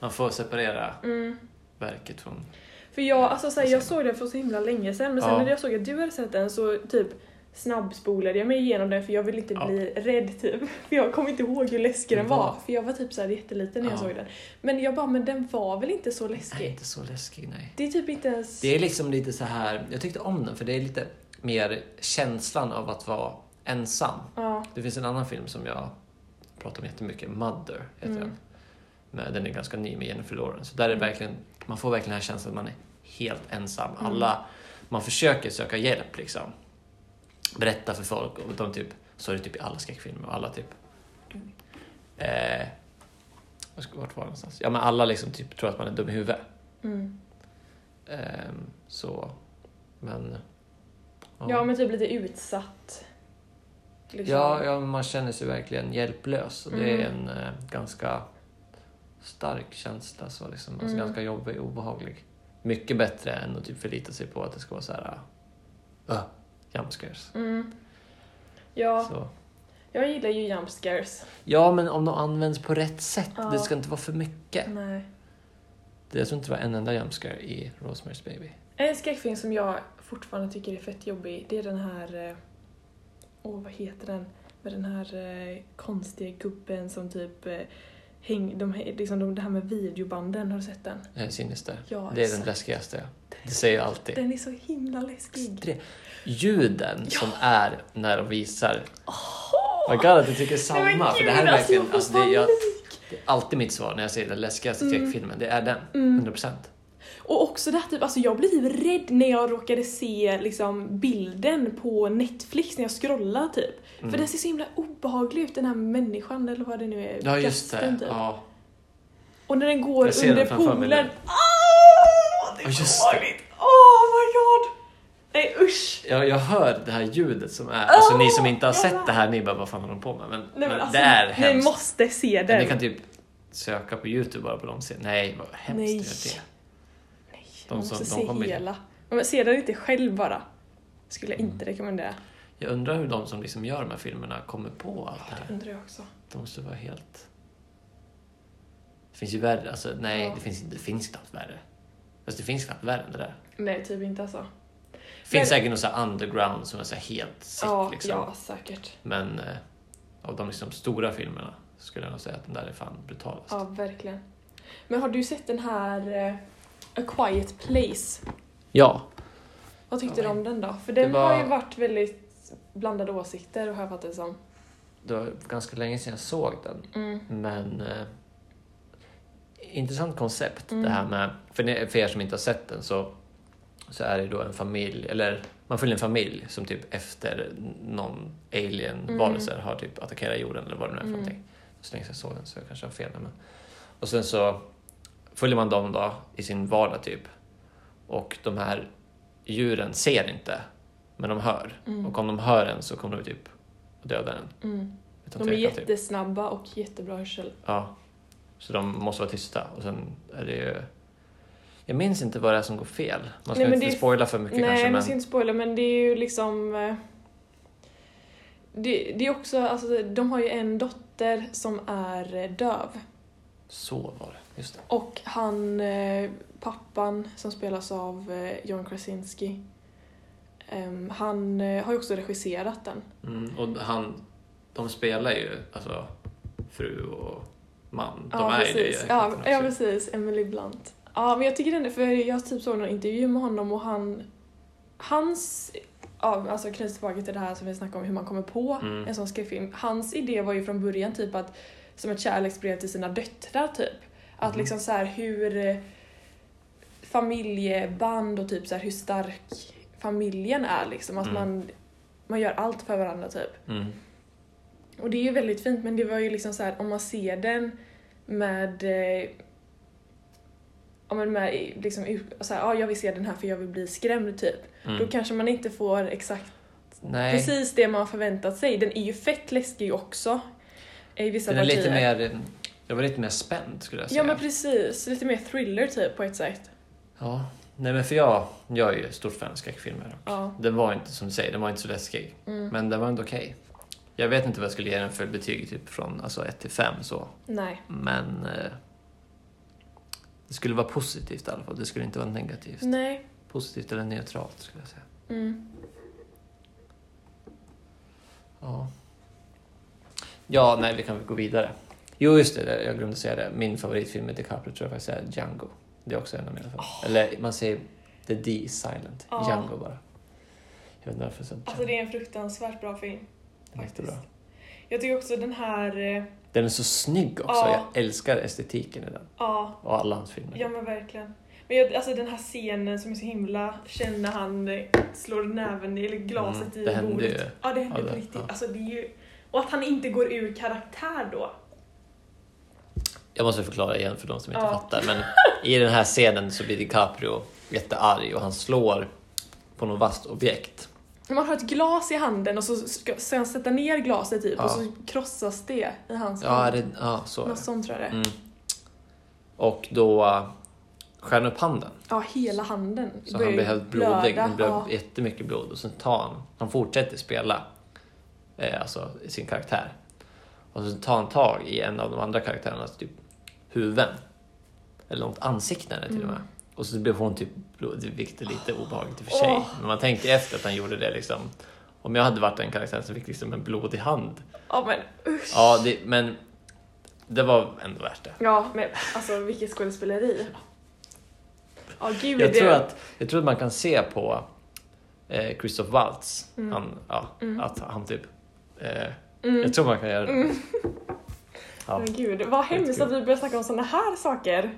A: Man får separera
B: Mm.
A: verket från...
B: För jag, alltså, så här, jag
A: Vad
B: såg den för så himla länge sedan men sen
A: Ja.
B: när jag såg att du hade sett den så typ snabbspolade jag mig igenom den för jag ville inte
A: Ja.
B: bli rädd typ. <laughs> För jag kommer inte ihåg hur läskig den
A: Den
B: var.
A: var-
B: För jag var typ så här jätteliten när jag
A: Ja.
B: såg den. Men jag bara, men den var väl inte så
A: Nej,
B: läskig?
A: inte så läskig, nej.
B: Det är typ inte ens...
A: Det är liksom lite så här, jag tyckte om den för det är lite mer känslan av att vara ensam.
B: Ja.
A: Det finns en annan film som jag pratar om jättemycket, Mother heter
B: Mm.
A: den. med, den är ganska ny med Jennifer Lawrence. Där är det verkligen, man får verkligen den här känslan att man är helt ensam.
B: Mm.
A: Alla, man försöker söka hjälp liksom. Berätta för folk och de typ, så är det typ i alla skräckfilmer och alla typ.
B: Mm.
A: Eh, vad ska- vart var jag någonstans? Ja men alla liksom typ tror att man är dum i huvudet.
B: Mm.
A: Ehm, så, men...
B: Ja, men typ lite utsatt. liksom.
A: Ja, ja, men man känner sig verkligen hjälplös. Och Det är
B: Mm.
A: en eh, ganska stark känsla, så liksom, alltså
B: Mm.
A: ganska jobbig och obehaglig. Mycket bättre än att typ förlita sig på att det ska vara så här... Uh, jump scares.
B: Mm. Ja,
A: Så.
B: jag gillar ju jump scares.
A: Ja, men om de används på rätt sätt.
B: Ja.
A: Det ska inte vara för mycket.
B: Nej.
A: Det jag tror inte det var en enda jump scare i Rosemary's Baby.
B: En skräckfilm som jag fortfarande tycker är fett jobbig, det är den här... eh, Åh, vad heter den? Med den här eh, konstiga gubben som typ... eh, Häng, de, hä- liksom de, det här med videobanden, har du sett den?
A: Eh, Sinister.
B: Ja,
A: det är den
B: exakt.
A: läskigaste. Det säger jag alltid.
B: Den är så himla läskig.
A: Stre- Ljuden som är när de visar. Vad glad att du tycker samma.
B: Nej, men
A: för
B: gud,
A: det här är
B: alltså,
A: verkligen,
B: jag får
A: alltså, det, är- jag,
B: panik.
A: det är alltid mitt svar när jag säger den läskigaste
B: Mm.
A: skräckfilmen. Det är den.
B: Mm.
A: 100%.
B: Och också det här typ, alltså jag blev typ rädd när jag råkade se liksom bilden på Netflix när jag scrollar typ.
A: Mm.
B: För den ser så himla obehaglig ut, den här människan eller vad det nu är.
A: Ja, just det.
B: gasten, typ.
A: Ja.
B: Och när den går
A: Jag ser
B: under
A: den framför mig nu.
B: poolen. Åh, det
A: Ja,
B: är
A: just
B: så obehagligt! Åh my god! Nej usch!
A: Jag, jag hör det här ljudet som är... Alltså
B: Åh,
A: ni som inte har
B: jag
A: sett
B: hör.
A: det här, ni bara vad fan håller de på med? Men,
B: Nej, men alltså,
A: det är
B: Ni
A: hemskt.
B: måste se
A: Men
B: den.
A: ni kan typ söka på Youtube bara på de scenerna. Nej, vad hemskt
B: Nej.
A: det är.
B: Nej,
A: de
B: man
A: som-
B: måste
A: de
B: se
A: kommer ju.
B: hela. Men se den inte själv bara. Skulle jag
A: Mm.
B: inte rekommendera.
A: Jag undrar hur de som liksom gör de här filmerna kommer på allt det här.
B: Det undrar jag också.
A: De måste vara helt... Det finns ju värre, alltså nej,
B: Ja.
A: det, finns, det finns knappt värre. Alltså det finns knappt värre än det där.
B: Nej, typ inte alltså.
A: Det finns
B: Men-
A: säkert någon sån här underground som är så här helt sitt
B: ja,
A: liksom.
B: ja, säkert.
A: Men eh, av de liksom stora filmerna skulle jag nog säga att den där är fan brutalast.
B: Ja, verkligen. Men har du sett den här eh, A Quiet Place?
A: Ja,
B: Vad tyckte
A: Ja,
B: du om den då? För den
A: det var-
B: har ju varit väldigt blandade åsikter har jag fattat det som.
A: det var ganska länge sedan jag såg den.
B: Mm.
A: Men eh, intressant koncept
B: Mm.
A: det här med, för, ni, för er som inte har sett den så, så är det då en familj, eller man följer en familj som typ efter någon alien-varelse har typ attackerat jorden eller vad det nu är för
B: Mm.
A: någonting. Så länge sedan jag såg den så jag kanske har fel där, men. Och sen så följer man dem då i sin vardag typ. Och de här djuren ser inte, men de hör.
B: Mm.
A: Och om de hör en så kommer de typ att döda en.
B: Mm.
A: utan
B: De är
A: tvekan, typ.
B: jättesnabba och jättebra hörsel.
A: Ja. Så de måste vara tysta. Och sen är det ju... Jag minns inte vad det är som går fel. Man ska
B: Nej, men
A: inte
B: det är-
A: spoila för mycket
B: Nej,
A: kanske.
B: man
A: Men...
B: ska inte spoila men det är ju liksom... eh, Det, det är också, alltså de har ju en dotter som är eh, döv.
A: Så var det. Just det.
B: Och han, eh, pappan som spelas av eh, John Krasinski, ehm, han eh, har ju också regisserat den.
A: Mm, och han, de spelar ju alltså, fru och man. De
B: ja,
A: är ju
B: precis.
A: det. i
B: ja,
A: Jackpot
B: ja,
A: också.
B: precis. Emily Blunt. Ja, men jag tycker den, för jag typ såg någon intervju med honom och han... Hans... Ja, alltså knyts tillbaka till det här som vi snackade om, hur man kommer på
A: Mm.
B: en sån skräckfilm. Hans idé var ju från början typ att, som ett kärleksbrev till sina döttrar typ. Att
A: Mhm.
B: liksom så här hur eh, familjeband och typ så här hur stark familjen är liksom. Att
A: Mm.
B: man, man gör allt för varandra typ.
A: Mm.
B: Och det är ju väldigt fint men det var ju liksom så här om man ser den med eh, Ja men med eh, liksom ut- så här, ja jag vill se den här för jag vill bli skrämd typ.
A: Mm.
B: Då kanske man inte får exakt
A: Nej,
B: precis det man har förväntat sig. Den är ju fett läskig också. eh, I vissa
A: den är
B: partier.
A: lite mer... alltså, Jag var lite mer spänd skulle jag säga.
B: Ja men precis, lite mer thriller typ på ett sätt.
A: Ja. Nej men för jag, jag är ju ett stort fan av skräckfilmer.
B: Ja.
A: Den var inte, som du säger, den var inte så läskig.
B: Mm.
A: Men den var ändå okej. Jag vet inte vad jag skulle ge den för betyg, typ från alltså 1 till 5 så.
B: Nej.
A: Men eh, det skulle vara positivt i alla fall. Det skulle inte vara negativt.
B: Nej.
A: Positivt eller neutralt skulle jag säga.
B: Mm.
A: Ja. Ja, nej, vi kan väl gå vidare. Jo, just det, jag glömde säga det. Min favoritfilm med DiCaprio tror jag faktiskt är Django. Det är också en av mina favoriter. Eller man säger The D is silent.
B: Ja.
A: Django bara. Jag vet inte varför jag sa
B: Alltså det Alltså, är en fruktansvärt bra film.
A: Jättebra.
B: Jag tycker också den här, eh,
A: Den är så snygg också.
B: Ja.
A: Jag älskar estetiken i den.
B: ja,
A: Och alla hans filmer.
B: ja men verkligen. Men jag, alltså den här scenen som är så himla känd när han eh, slår näven i, eller glaset
A: Mm,
B: i
A: det hände
B: bordet.
A: ju.
B: Ja, det hände
A: Ja,
B: på
A: det-
B: riktigt.
A: ja.
B: Alltså det är ju... Och att han inte går ur karaktär då.
A: Jag måste förklara igen för de som inte
B: Ja.
A: fattar. Men i den här scenen så blir DiCaprio jättearg och han slår på något vasst objekt.
B: När man har ett glas i handen och så ska ska han sätta ner glaset typ
A: Ja.
B: och så krossas det i hans
A: Ja, det, ja så är
B: Något
A: det.
B: sånt tror jag det är.
A: Mm. Och då eh, skär han upp handen.
B: Ja, hela handen
A: Så
B: börjar
A: han
B: ju
A: blev helt blodig.
B: blöda.
A: Han blev
B: Ja.
A: jättemycket blod. Och sen tar han, han fortsätter spela eh, alltså, sin karaktär. Och sen tar han tag i en av de andra karaktärernas typ, huvuden. Eller något ansikten till och med.
B: Mm.
A: Och så blev hon typ blodig, vilket är lite obehagligt i och för sig.
B: Åh.
A: Men man tänker efter att han gjorde det liksom. Om jag hade varit den karaktären som fick liksom en blodig hand.
B: ja, men usch.
A: Ja, det, men det var ändå värt det.
B: Ja, men alltså vilket skådespeleri. Ja, gud.
A: Jag
B: det...
A: tror, att, jag tror att man kan se på eh, Christoph Waltz,
B: Mm.
A: han, ja,
B: Mm.
A: att han typ... Eh,
B: Mm.
A: Jag tror man kan göra det.
B: Mm.
A: Ja.
B: Men gud, vad hemskt att vi börjar snacka om sådana här saker. Det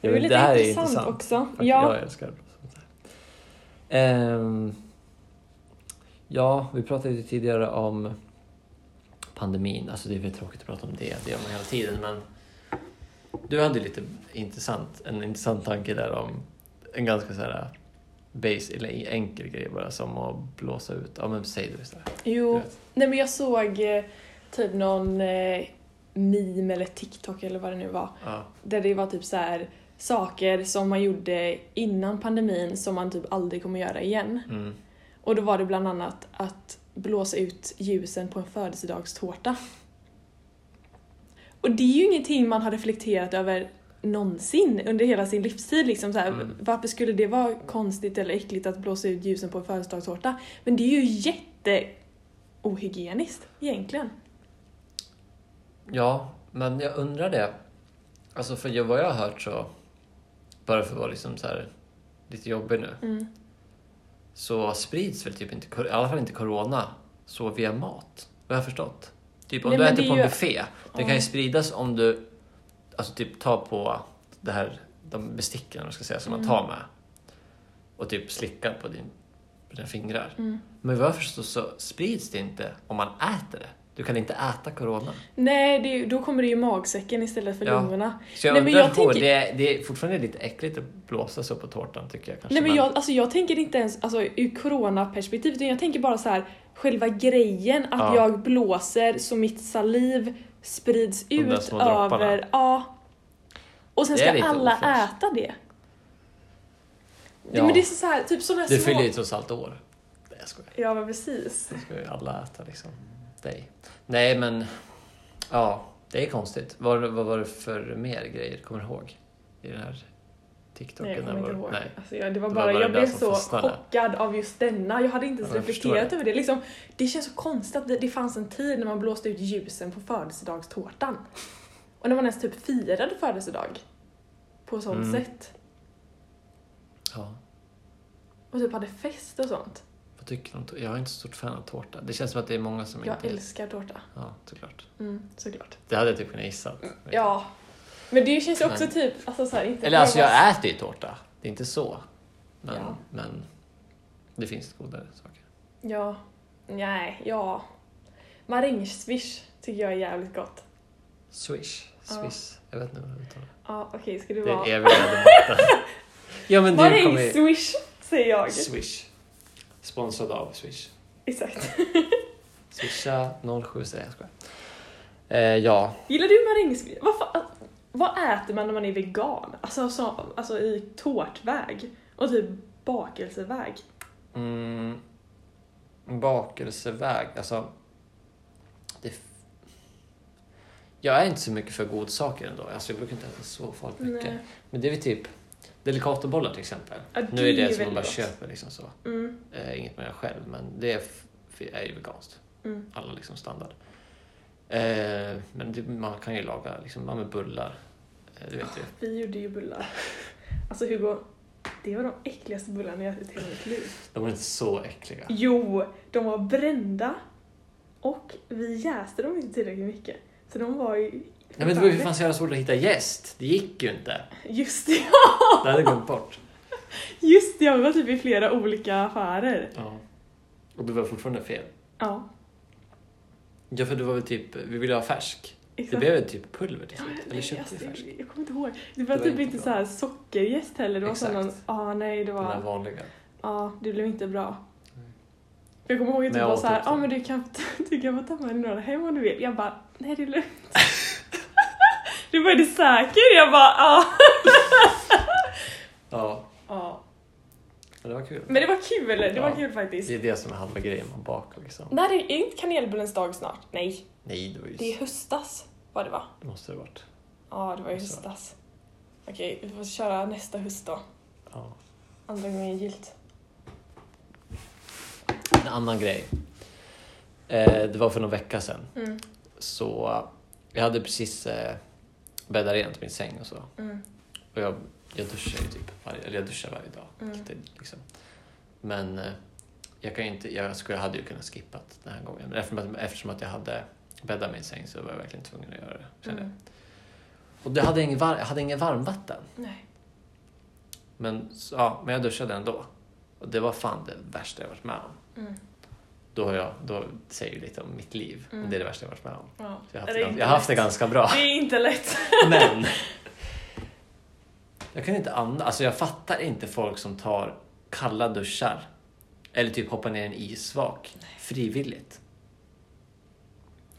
A: Ja,
B: är ju
A: men
B: lite
A: det här är
B: intressant,
A: intressant.
B: också.
A: Fuck,
B: Ja,
A: Jag älskar sånt här. Ehm, ja, vi pratade ju tidigare om pandemin. Alltså det är väl tråkigt att prata om det, det gör man hela tiden. Men du hade lite intressant, en intressant tanke där om en ganska så här äh, base, eller enkel grej bara som att blåsa ut. Ja men säg det istället.
B: jo.
A: Du vet.
B: Nej men jag såg eh, typ någon eh, meme eller TikTok eller vad det nu var.
A: Ja.
B: Där det var typ så här saker som man gjorde innan pandemin som man typ aldrig kommer göra igen.
A: Mm.
B: Och då var det bland annat att blåsa ut ljusen på en födelsedagstårta. Och det är ju ingenting man har reflekterat över någonsin under hela sin livstid. Liksom så här,
A: Mm.
B: Varför skulle det vara konstigt eller äckligt att blåsa ut ljusen på en födelsedagstårta? Men det är ju jätte ohygieniskt egentligen.
A: Ja, men jag undrar det. Alltså för vad jag har hört så, bara för att vara liksom så här, lite jobbig nu,
B: Mm.
A: så sprids väl typ inte, cor- i alla fall inte corona, så via mat. Vad jag har förstått. Typ om
B: Nej,
A: du
B: men
A: äter
B: det är
A: på en
B: ju-
A: buffé, det kan ju spridas om du alltså typ tar på det här, de besticken om man ska säga, som
B: Mm.
A: man tar med och typ slickar på, din, på dina fingrar.
B: Mm.
A: Men vad jag förstår så sprids det inte om man äter det. Du kan inte äta corona.
B: Nej, det är, ju- då kommer det ju i magsäcken istället för
A: Ja.
B: lungorna.
A: Så jag
B: Nej, men
A: undrar
B: jag
A: på,
B: tänker-
A: det, är, det är fortfarande lite äckligt att blåsa så på tårtan tycker jag kanske.
B: Nej men
A: men-
B: jag, alltså jag tänker inte ens alltså, ur coronaperspektiv utan jag tänker bara så här själva grejen att
A: Ja.
B: jag blåser så mitt saliv sprids
A: De där
B: ut
A: små dropparna.
B: över... Ja. Och sen
A: Det är
B: ska
A: lite
B: alla
A: ofräscht.
B: äta det.
A: Ja.
B: Men det är så här, typ sådana här
A: Du
B: små...
A: fyller ju trots allt år. Nej jag skojar.
B: Ja men precis.
A: Det ska ju alla äta liksom. Dig. Nej men, ja det är konstigt. Vad, vad var det för mer grejer, kommer du ihåg? I den här TikToken?
B: Nej jag kommer
A: där
B: inte
A: Typ, var-
B: ihåg.
A: Nej.
B: Alltså, jag, det var
A: Det var bara
B: bara, jag
A: det där
B: blev
A: som
B: så
A: fastnade.
B: chockad av just denna. Jag hade inte ens
A: Ja, jag förstår
B: reflekterat
A: det.
B: över det. Liksom, det känns så konstigt att det, det fanns en tid när man blåste ut ljusen på födelsedagstårtan. Och när man ens typ firade födelsedag. På sånt
A: Mm.
B: sätt.
A: Ja.
B: Och typ hade fest och sånt.
A: Vad tycker du om tå- Jag är inte så stort fan av tårta. Det känns som att det är många som
B: Jag
A: inte...
B: älskar tårta.
A: Ja, såklart.
B: Mm, såklart.
A: Det hade jag typ kunnat gissa.
B: Ja. Men det känns ju också
A: Men-
B: typ... Alltså, så här, inte
A: Eller alltså
B: bara-
A: jag äter ju tårta. Det är inte så. Men,
B: Ja.
A: men det finns godare saker.
B: Ja. Nej, ja. Marängsviss tycker jag är jävligt gott.
A: Swish.
B: Ja.
A: Swish. Jag vet inte vad det uttalar.
B: Ja, okej, ska det
A: Det
B: vara...
A: är eviga debatten. <laughs> ja men du kommer...
B: Marängswish säger jag.
A: Swish. Sponsrad av Swish.
B: Exakt.
A: Swisha 07 säger jag skojar. Eh, ja,
B: Gillar du marängsviss? Vad, fa- vad äter man när man är vegan? Alltså, så, alltså i tårtväg och typ bakelseväg.
A: mm, bakelseväg, alltså. Det f- jag är inte så mycket för godsaker ändå. Alltså, jag brukar inte äta så farligt mycket.
B: Nej.
A: Men det är väl typ delikatobollar till exempel.
B: Ja,
A: nu är det som man
B: väldigt
A: bara
B: gott.
A: köper liksom så.
B: Mm,
A: Eh, inget man gör själv, men det är, f- är ju veganskt.
B: mm,
A: alla liksom standard. Eh, men det, man kan ju laga liksom, man med bullar. Eh, det vet du.
B: vi gjorde ju bullar. Alltså Hugo, det var de äckligaste bullarna jag ätit i hela mitt liv.
A: De är inte så äckliga.
B: Jo, de var brända Och vi jäste dem inte tillräckligt mycket. Så de var ju...
A: Nej men det var ju för fan så jävla svårt att hitta jäst. Det gick ju inte.
B: Just <laughs> det,
A: Det hade jag glömt
B: <laughs>
A: bort.
B: just det, ja, vi var typ i flera olika affärer.
A: Ja. Och det var fortfarande fel.
B: Ja,
A: Ja för det var väl typ, vi ville ha färsk. Det
B: exakt.
A: blev väl typ pulver till
B: Ja,
A: slut. Eller
B: nej,
A: köpte vi
B: alltså,
A: färsk.
B: jag, jag kommer inte ihåg. Det var,
A: Det var
B: typ
A: inte
B: inte
A: bra.
B: så här sockerjäst heller. Det var
A: Exakt.
B: sån någon, ah, nej det
A: Den här
B: var,
A: vanliga.
B: ja det blev inte bra.
A: Nej.
B: Jag kommer ihåg
A: Mm. Men
B: att du
A: jag
B: var
A: åt
B: såhär,
A: upp
B: ja
A: den.
B: men du kan, du kan få ta <laughs> med dig några hem om du vill. Jag bara, nej det
A: <laughs>
B: är lugnt. du bara, är du säker? Jag bara, ja.
A: Ja,
B: ja.
A: men det var kul.
B: Men det var kul, det var
A: Ja.
B: kul faktiskt.
A: Det är det som är halva grejen, man bakar liksom.
B: Nej, det är inte kanelbullens dag snart. Nej,
A: Nej, det var
B: det
A: ju...
B: är höstas vad det var.
A: Det måste det ha varit.
B: Ja, det var ju
A: Alltså.
B: höstas. Okej, vi får köra nästa höst då.
A: Ja.
B: Andra gången gilt.
A: En annan grej. Eh, det var för någon vecka sedan.
B: Mm,
A: Så eh, jag hade precis eh, bäddat rent min säng och så.
B: mm,
A: Och jag, jag duschar ju typ varje, eller jag duschar varje dag.
B: mm.
A: Det, liksom. Men eh, jag, kan ju inte, jag skulle, hade ju kunnat skippat den här gången. Men eftersom, att- eftersom att jag hade bäddat min säng så var jag verkligen tvungen att göra det. kände jag.
B: Mm.
A: Och det hade ingen, var, jag hade ingen varmvatten.
B: Nej.
A: Men, så, ja, men jag duschade ändå. Och det var fan det värsta jag varit med om.
B: Mm.
A: Då, har jag, då säger ju lite om mitt liv.
B: Mm.
A: Och det är det värsta jag varit med om.
B: Ja.
A: Så jag har haft,
B: Det
A: det,
B: är
A: gans-
B: inte
A: jag har haft det
B: lätt.
A: ganska bra.
B: Det är inte lätt.
A: <laughs> Men jag kan inte andas. Alltså jag fattar inte folk som tar kalla duschar eller typ hoppar ner i en isvak frivilligt.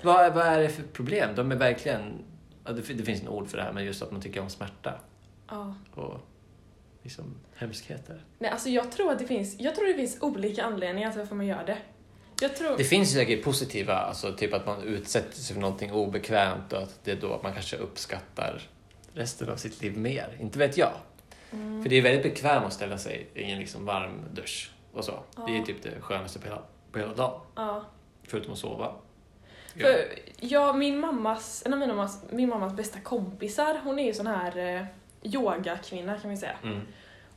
A: Vad, vad är det för problem? De är verkligen... ja, Det fin- det finns en ord för det här, men just att man tycker om smärta
B: Ja.
A: och liksom hemskheter.
B: Nej, alltså jag tror att det finns, jag tror det finns olika anledningar till varför man gör det. Jag tror...
A: Det finns ju säkert positiva, alltså typ att man utsätter sig för någonting obekvämt och att det är då att man kanske uppskattar resten av sitt liv mer. Inte vet jag.
B: Mm.
A: För det är väldigt bekvämt att ställa sig i en liksom varm dusch och så. Det är
B: Ja.
A: typ det skönaste på hela, på hela dagen,
B: Ja.
A: förutom att sova. Ja.
B: För jag, min mammas, en av mina mammas, min mammas bästa kompisar, hon är ju sån här eh, yogakvinna kan vi säga.
A: Mm.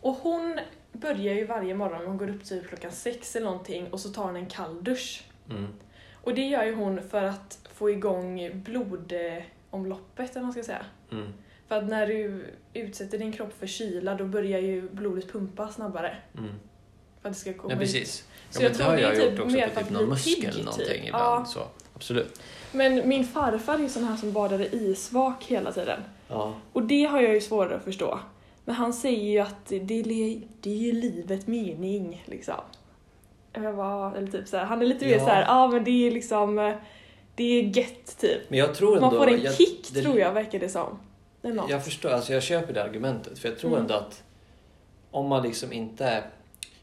B: Och hon börjar ju varje morgon, hon går upp typ klockan sex eller någonting och så tar hon en kall dusch.
A: Mm.
B: Och det gör ju hon för att få igång blodomloppet eller vad man ska säga.
A: Mm.
B: För att när du utsätter din kropp för kyla då börjar ju blodet pumpa snabbare.
A: Mm.
B: För att det ska komma
A: Ja,
B: ut.
A: precis. ja,
B: Så jag
A: men det
B: tror
A: har
B: det är
A: jag
B: typ
A: gjort också
B: mer
A: på
B: för
A: typ
B: att
A: någon
B: bli
A: muskel
B: pigg,
A: eller
B: typ.
A: någonting
B: Ja.
A: ibland. Så. Absolut.
B: Men min farfar är ju sån här som badar i isvak hela tiden.
A: Ja.
B: Och det har jag ju svårare att förstå. Men han säger ju att det, le- det ger livet mening liksom. Jag bara, eller typ så här, han är lite mer
A: Ja.
B: så här, ja ah, men det är liksom, eh, det är gett typ.
A: Men jag tror ändå...
B: Man får en
A: jag-
B: kick
A: det-
B: tror jag verkar det som. Eller något.
A: Jag förstår, alltså jag köper det argumentet. För jag tror
B: Mm.
A: ändå att om man liksom inte...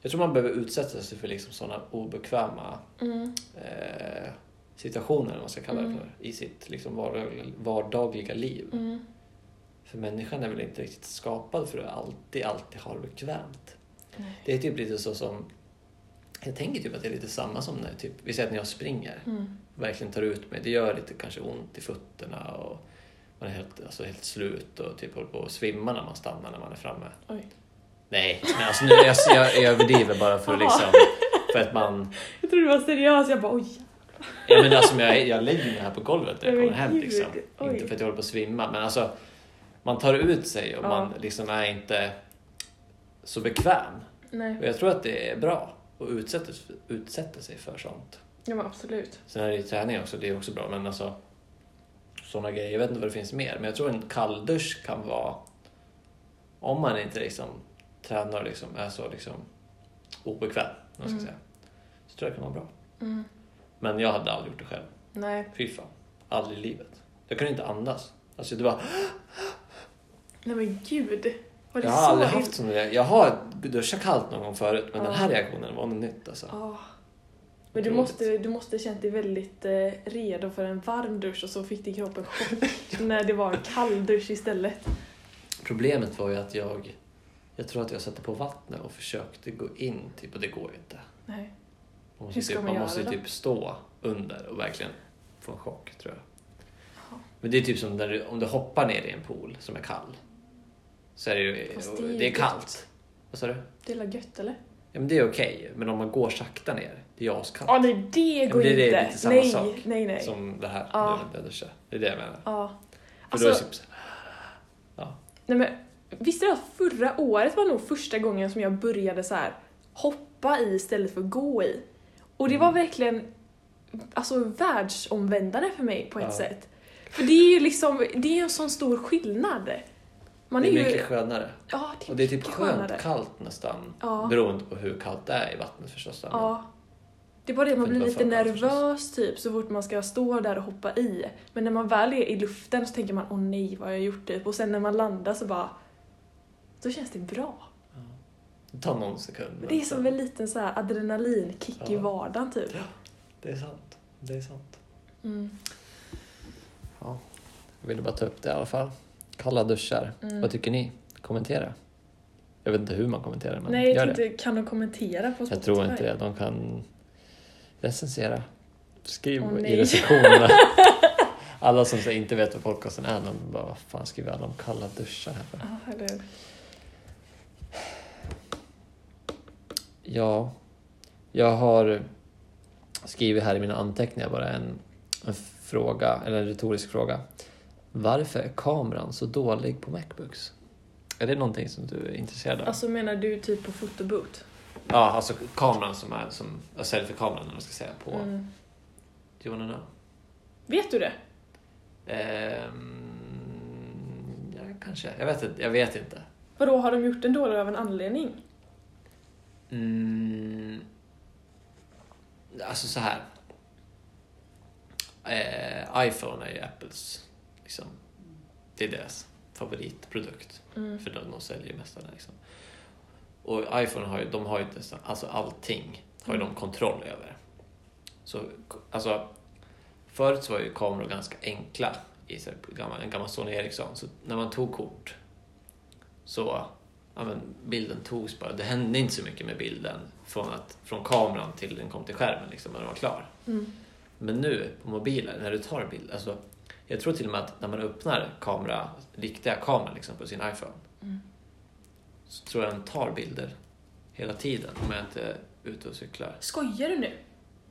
A: Jag tror man behöver utsätta sig för liksom sådana obekväma
B: Mm,
A: eh, situationer, eller vad man ska kalla det
B: Mm.
A: för, i sitt liksom vardag- vardagliga liv.
B: mm.
A: För människan är väl inte riktigt skapad för att alltid, alltid ha det bekvämt.
B: Nej.
A: Det är typ lite så som... Jag tänker typ att det är lite samma som när typ, vi säger att när jag springer,
B: Mm.
A: verkligen tar ut mig. Det gör lite kanske ont i fötterna och man är helt, alltså helt slut och typ håller på att svimma när man stannar när man är framme.
B: Oj.
A: Nej, men alltså nu, jag, jag, jag överdriver bara för att
B: Jaha.
A: liksom... För att man...
B: Jag trodde du var seriös, jag bara oj.
A: Jag, menar, alltså, men jag, jag lägger mig här på golvet när jag
B: Men
A: kommer hem.
B: gud,
A: Liksom.
B: oj.
A: Inte för att jag håller på att svimma, men alltså man tar ut sig och
B: Ja.
A: man liksom är inte så bekväm.
B: Nej,
A: Och jag tror att det är bra att utsätta, utsätta sig för sånt.
B: ja men absolut.
A: Sen är det ju träning också, det är också bra, men alltså sådana grejer. Jag vet inte vad det finns mer, men jag tror en kalldusch kan vara om man inte liksom tränar och liksom är så liksom obekväm, om man ska
B: Mm.
A: säga. Så tror jag det kan vara bra.
B: Mm.
A: Men jag hade aldrig gjort det själv.
B: Nej.
A: Fy fan, aldrig i livet. Jag kunde inte andas. Alltså det var,
B: Nej men gud. Var det
A: jag
B: så
A: har aldrig
B: illa?
A: haft sån där. Jag har duschat kallt någon gång förut, men
B: Ja.
A: den här reaktionen var något nytt alltså.
B: Ja. Men du
A: Otroligt.
B: måste, du måste känt dig väldigt eh, redo för en varm dusch och så fick din kropp
A: <laughs>
B: en chock när det var en kall dusch istället.
A: Problemet var ju att jag, jag tror att jag satte på vattnet och försökte gå in, typ, och det går ju inte.
B: Nej.
A: Man måste,
B: Hur ska
A: typ,
B: man
A: man
B: göra
A: måste ju
B: då?
A: typ stå under och verkligen få en chock, tror jag.
B: Ja.
A: Men det är typ som när du, om du hoppar ner i en pool som är kall. Så är det ju,
B: Fast
A: och
B: det är ju
A: det är
B: gött.
A: kallt. Vad sa du?
B: Det är väl gött eller?
A: Ja, men det är okej, men om man går sakta ner, det är askallt.
B: Ja, nej det
A: men
B: går
A: det är
B: inte.
A: lite samma
B: nej,
A: sak
B: nej, nej.
A: Som det här
B: Ja.
A: nu, det duscha. Det är det jag menar. För
B: Ja.
A: då är
B: Alltså,
A: det typ så här,
B: nej men, visste du att förra året var nog första gången som jag började så här hoppa i istället för gå i? Och det var
A: Mm.
B: verkligen alltså världsomvändande för mig på ett
A: Ja.
B: sätt. För det är ju liksom, det är ju en sån stor skillnad. Man
A: det är
B: ju,
A: mycket skönare.
B: ja, det är,
A: Och det är typ
B: mycket
A: skönt
B: skönare.
A: kallt nästan.
B: Ja.
A: Beroende på hur kallt det är i vattnet förstås. då, men-
B: Ja. Det är bara det att man
A: För
B: blir
A: det var för
B: lite
A: kallt
B: nervös typ så fort man ska stå där och hoppa i. Men när man väl är i luften så tänker man åh nej vad har jag gjort typ. Och sen när man landar så bara då känns det bra.
A: Det tar någon sekund. men
B: Det är
A: så-
B: som en liten så här adrenalinkick i
A: Ja.
B: vardagen typ.
A: Det är sant. Det är sant.
B: Mm.
A: Jag ville bara ta upp det i alla fall. Kalla duschar.
B: Mm.
A: Vad tycker ni? Kommentera. Jag vet inte hur man kommenterar men
B: Nej, jag
A: gör det.
B: tänkte, kan de kommentera på Spotify?
A: Jag tror inte det. De kan recensera. Skriv
B: Åh, nej.
A: i
B: <laughs>
A: recensionerna. alla som så inte vet vad podcasten är, de bara vad fan skriver alla om kalla duschar här för?
B: Ja, eller hur?
A: Ja, jag har skrivit här i mina anteckningar bara en, en fråga, eller en retorisk fråga. Varför är kameran så dålig på Macbooks? Är det någonting som du är intresserad av?
B: Alltså menar du typ på fotoboot?
A: ja, alltså kameran som är som, selfie-kameran eller vad man ska säga på...
B: Mm.
A: Do you wanna know?
B: Vet du det?
A: Ehm, ja, kanske. Jag vet, inte- jag vet inte.
B: Vadå, har de gjort den dålig av en anledning?
A: Mm, alltså så här. Eh, iPhone är ju Apples, liksom, det är deras favoritprodukt.
B: Mm.
A: För de, de säljer ju mest av den. Liksom. Och iPhone har ju, de har ju nästan, alltså allting har ju
B: Mm.
A: de kontroll över. Så, k- alltså, förut så var ju kameror ganska enkla i så här gammal, en gammal Sony Ericsson. Så när man tog kort så ja, men bilden togs bara. Det hände inte så mycket med bilden från, att, från kameran till den kom till skärmen liksom, när den var klar.
B: Mm.
A: Men nu på mobilen, när du tar en bild, alltså, jag tror till och med att när man öppnar kamera, riktiga kameran liksom, på sin iPhone,
B: Mm.
A: så tror jag den tar bilder hela tiden om jag inte är ute och cyklar.
B: Skojar du nu?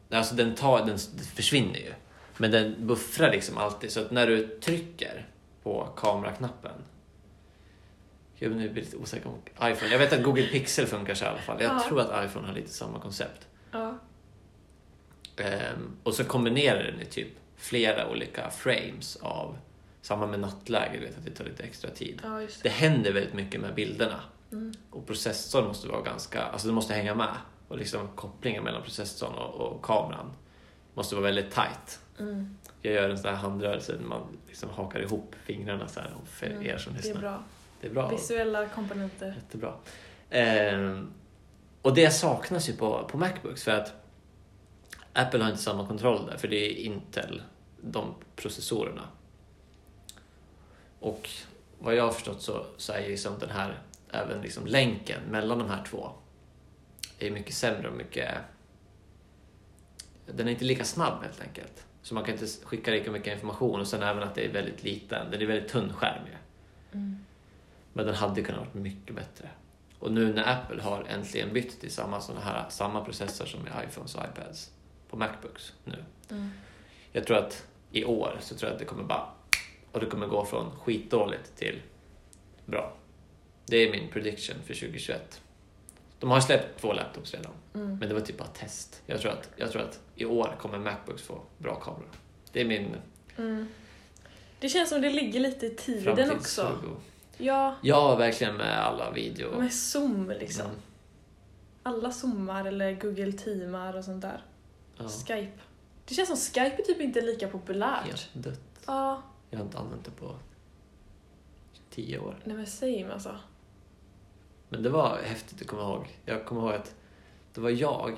A: Nej, Alltså den, tar, den s- den försvinner ju, men den buffrar liksom alltid. Så att när du trycker på kameraknappen, jag blir lite osäker om iPhone. Jag vet att Google Pixel funkar så i alla fall. Jag
B: Ja.
A: tror att iPhone har lite samma koncept.
B: Ja.
A: Ehm, och så kombinerar den i typ flera olika frames av samma med nattläge, du vet att det tar lite extra tid.
B: Ja, just
A: Det
B: det.
A: händer väldigt mycket med bilderna
B: Mm.
A: och processorn måste vara ganska, alltså den måste hänga med och liksom kopplingen mellan processorn och, och kameran måste vara väldigt tight.
B: Mm.
A: Jag gör en sån här handrörelse där man liksom hakar ihop fingrarna så här för
B: Mm,
A: er som
B: Det är
A: lyssnar.
B: bra.
A: Det är bra.
B: Visuella komponenter.
A: Jättebra. Ehm, och det saknas ju på, på Macbooks för att Apple har inte samma kontroll där, för det är Intel, de processorerna. Och vad jag har förstått så, så är ju liksom den här, även liksom länken mellan de här två, är mycket sämre och mycket... Den är inte lika snabb helt enkelt. Så man kan inte skicka lika mycket information och sen även att det är väldigt liten, den är väldigt tunn skärm ju. Men den hade kunnat varit mycket bättre. Och nu när Apple har äntligen bytt till samma, såna här, samma processor som i iPhones och iPads på Macbooks nu.
B: Mm.
A: Jag tror att i år så tror jag att det kommer bara... Och det kommer gå från skitdåligt till bra. Det är min prediction för 2021. De har släppt två laptops redan,
B: Mm.
A: men det var typ bara test. Jag tror att, jag tror att i år kommer Macbooks få bra kameror. Det är min
B: Mm. Det känns som det ligger lite i tiden också.
A: framtidsfråga.
B: Ja,
A: Ja, verkligen med alla video...
B: med Zoom liksom.
A: Mm.
B: Alla Zoomar eller Google Teamar och sånt där.
A: Ja.
B: Skype. Det känns som Skype är typ inte lika populärt. Ja,
A: Helt dött. Jag har inte använt det på tio år.
B: nej men same alltså.
A: Men det var häftigt att komma ihåg. Jag kommer ihåg att det var jag,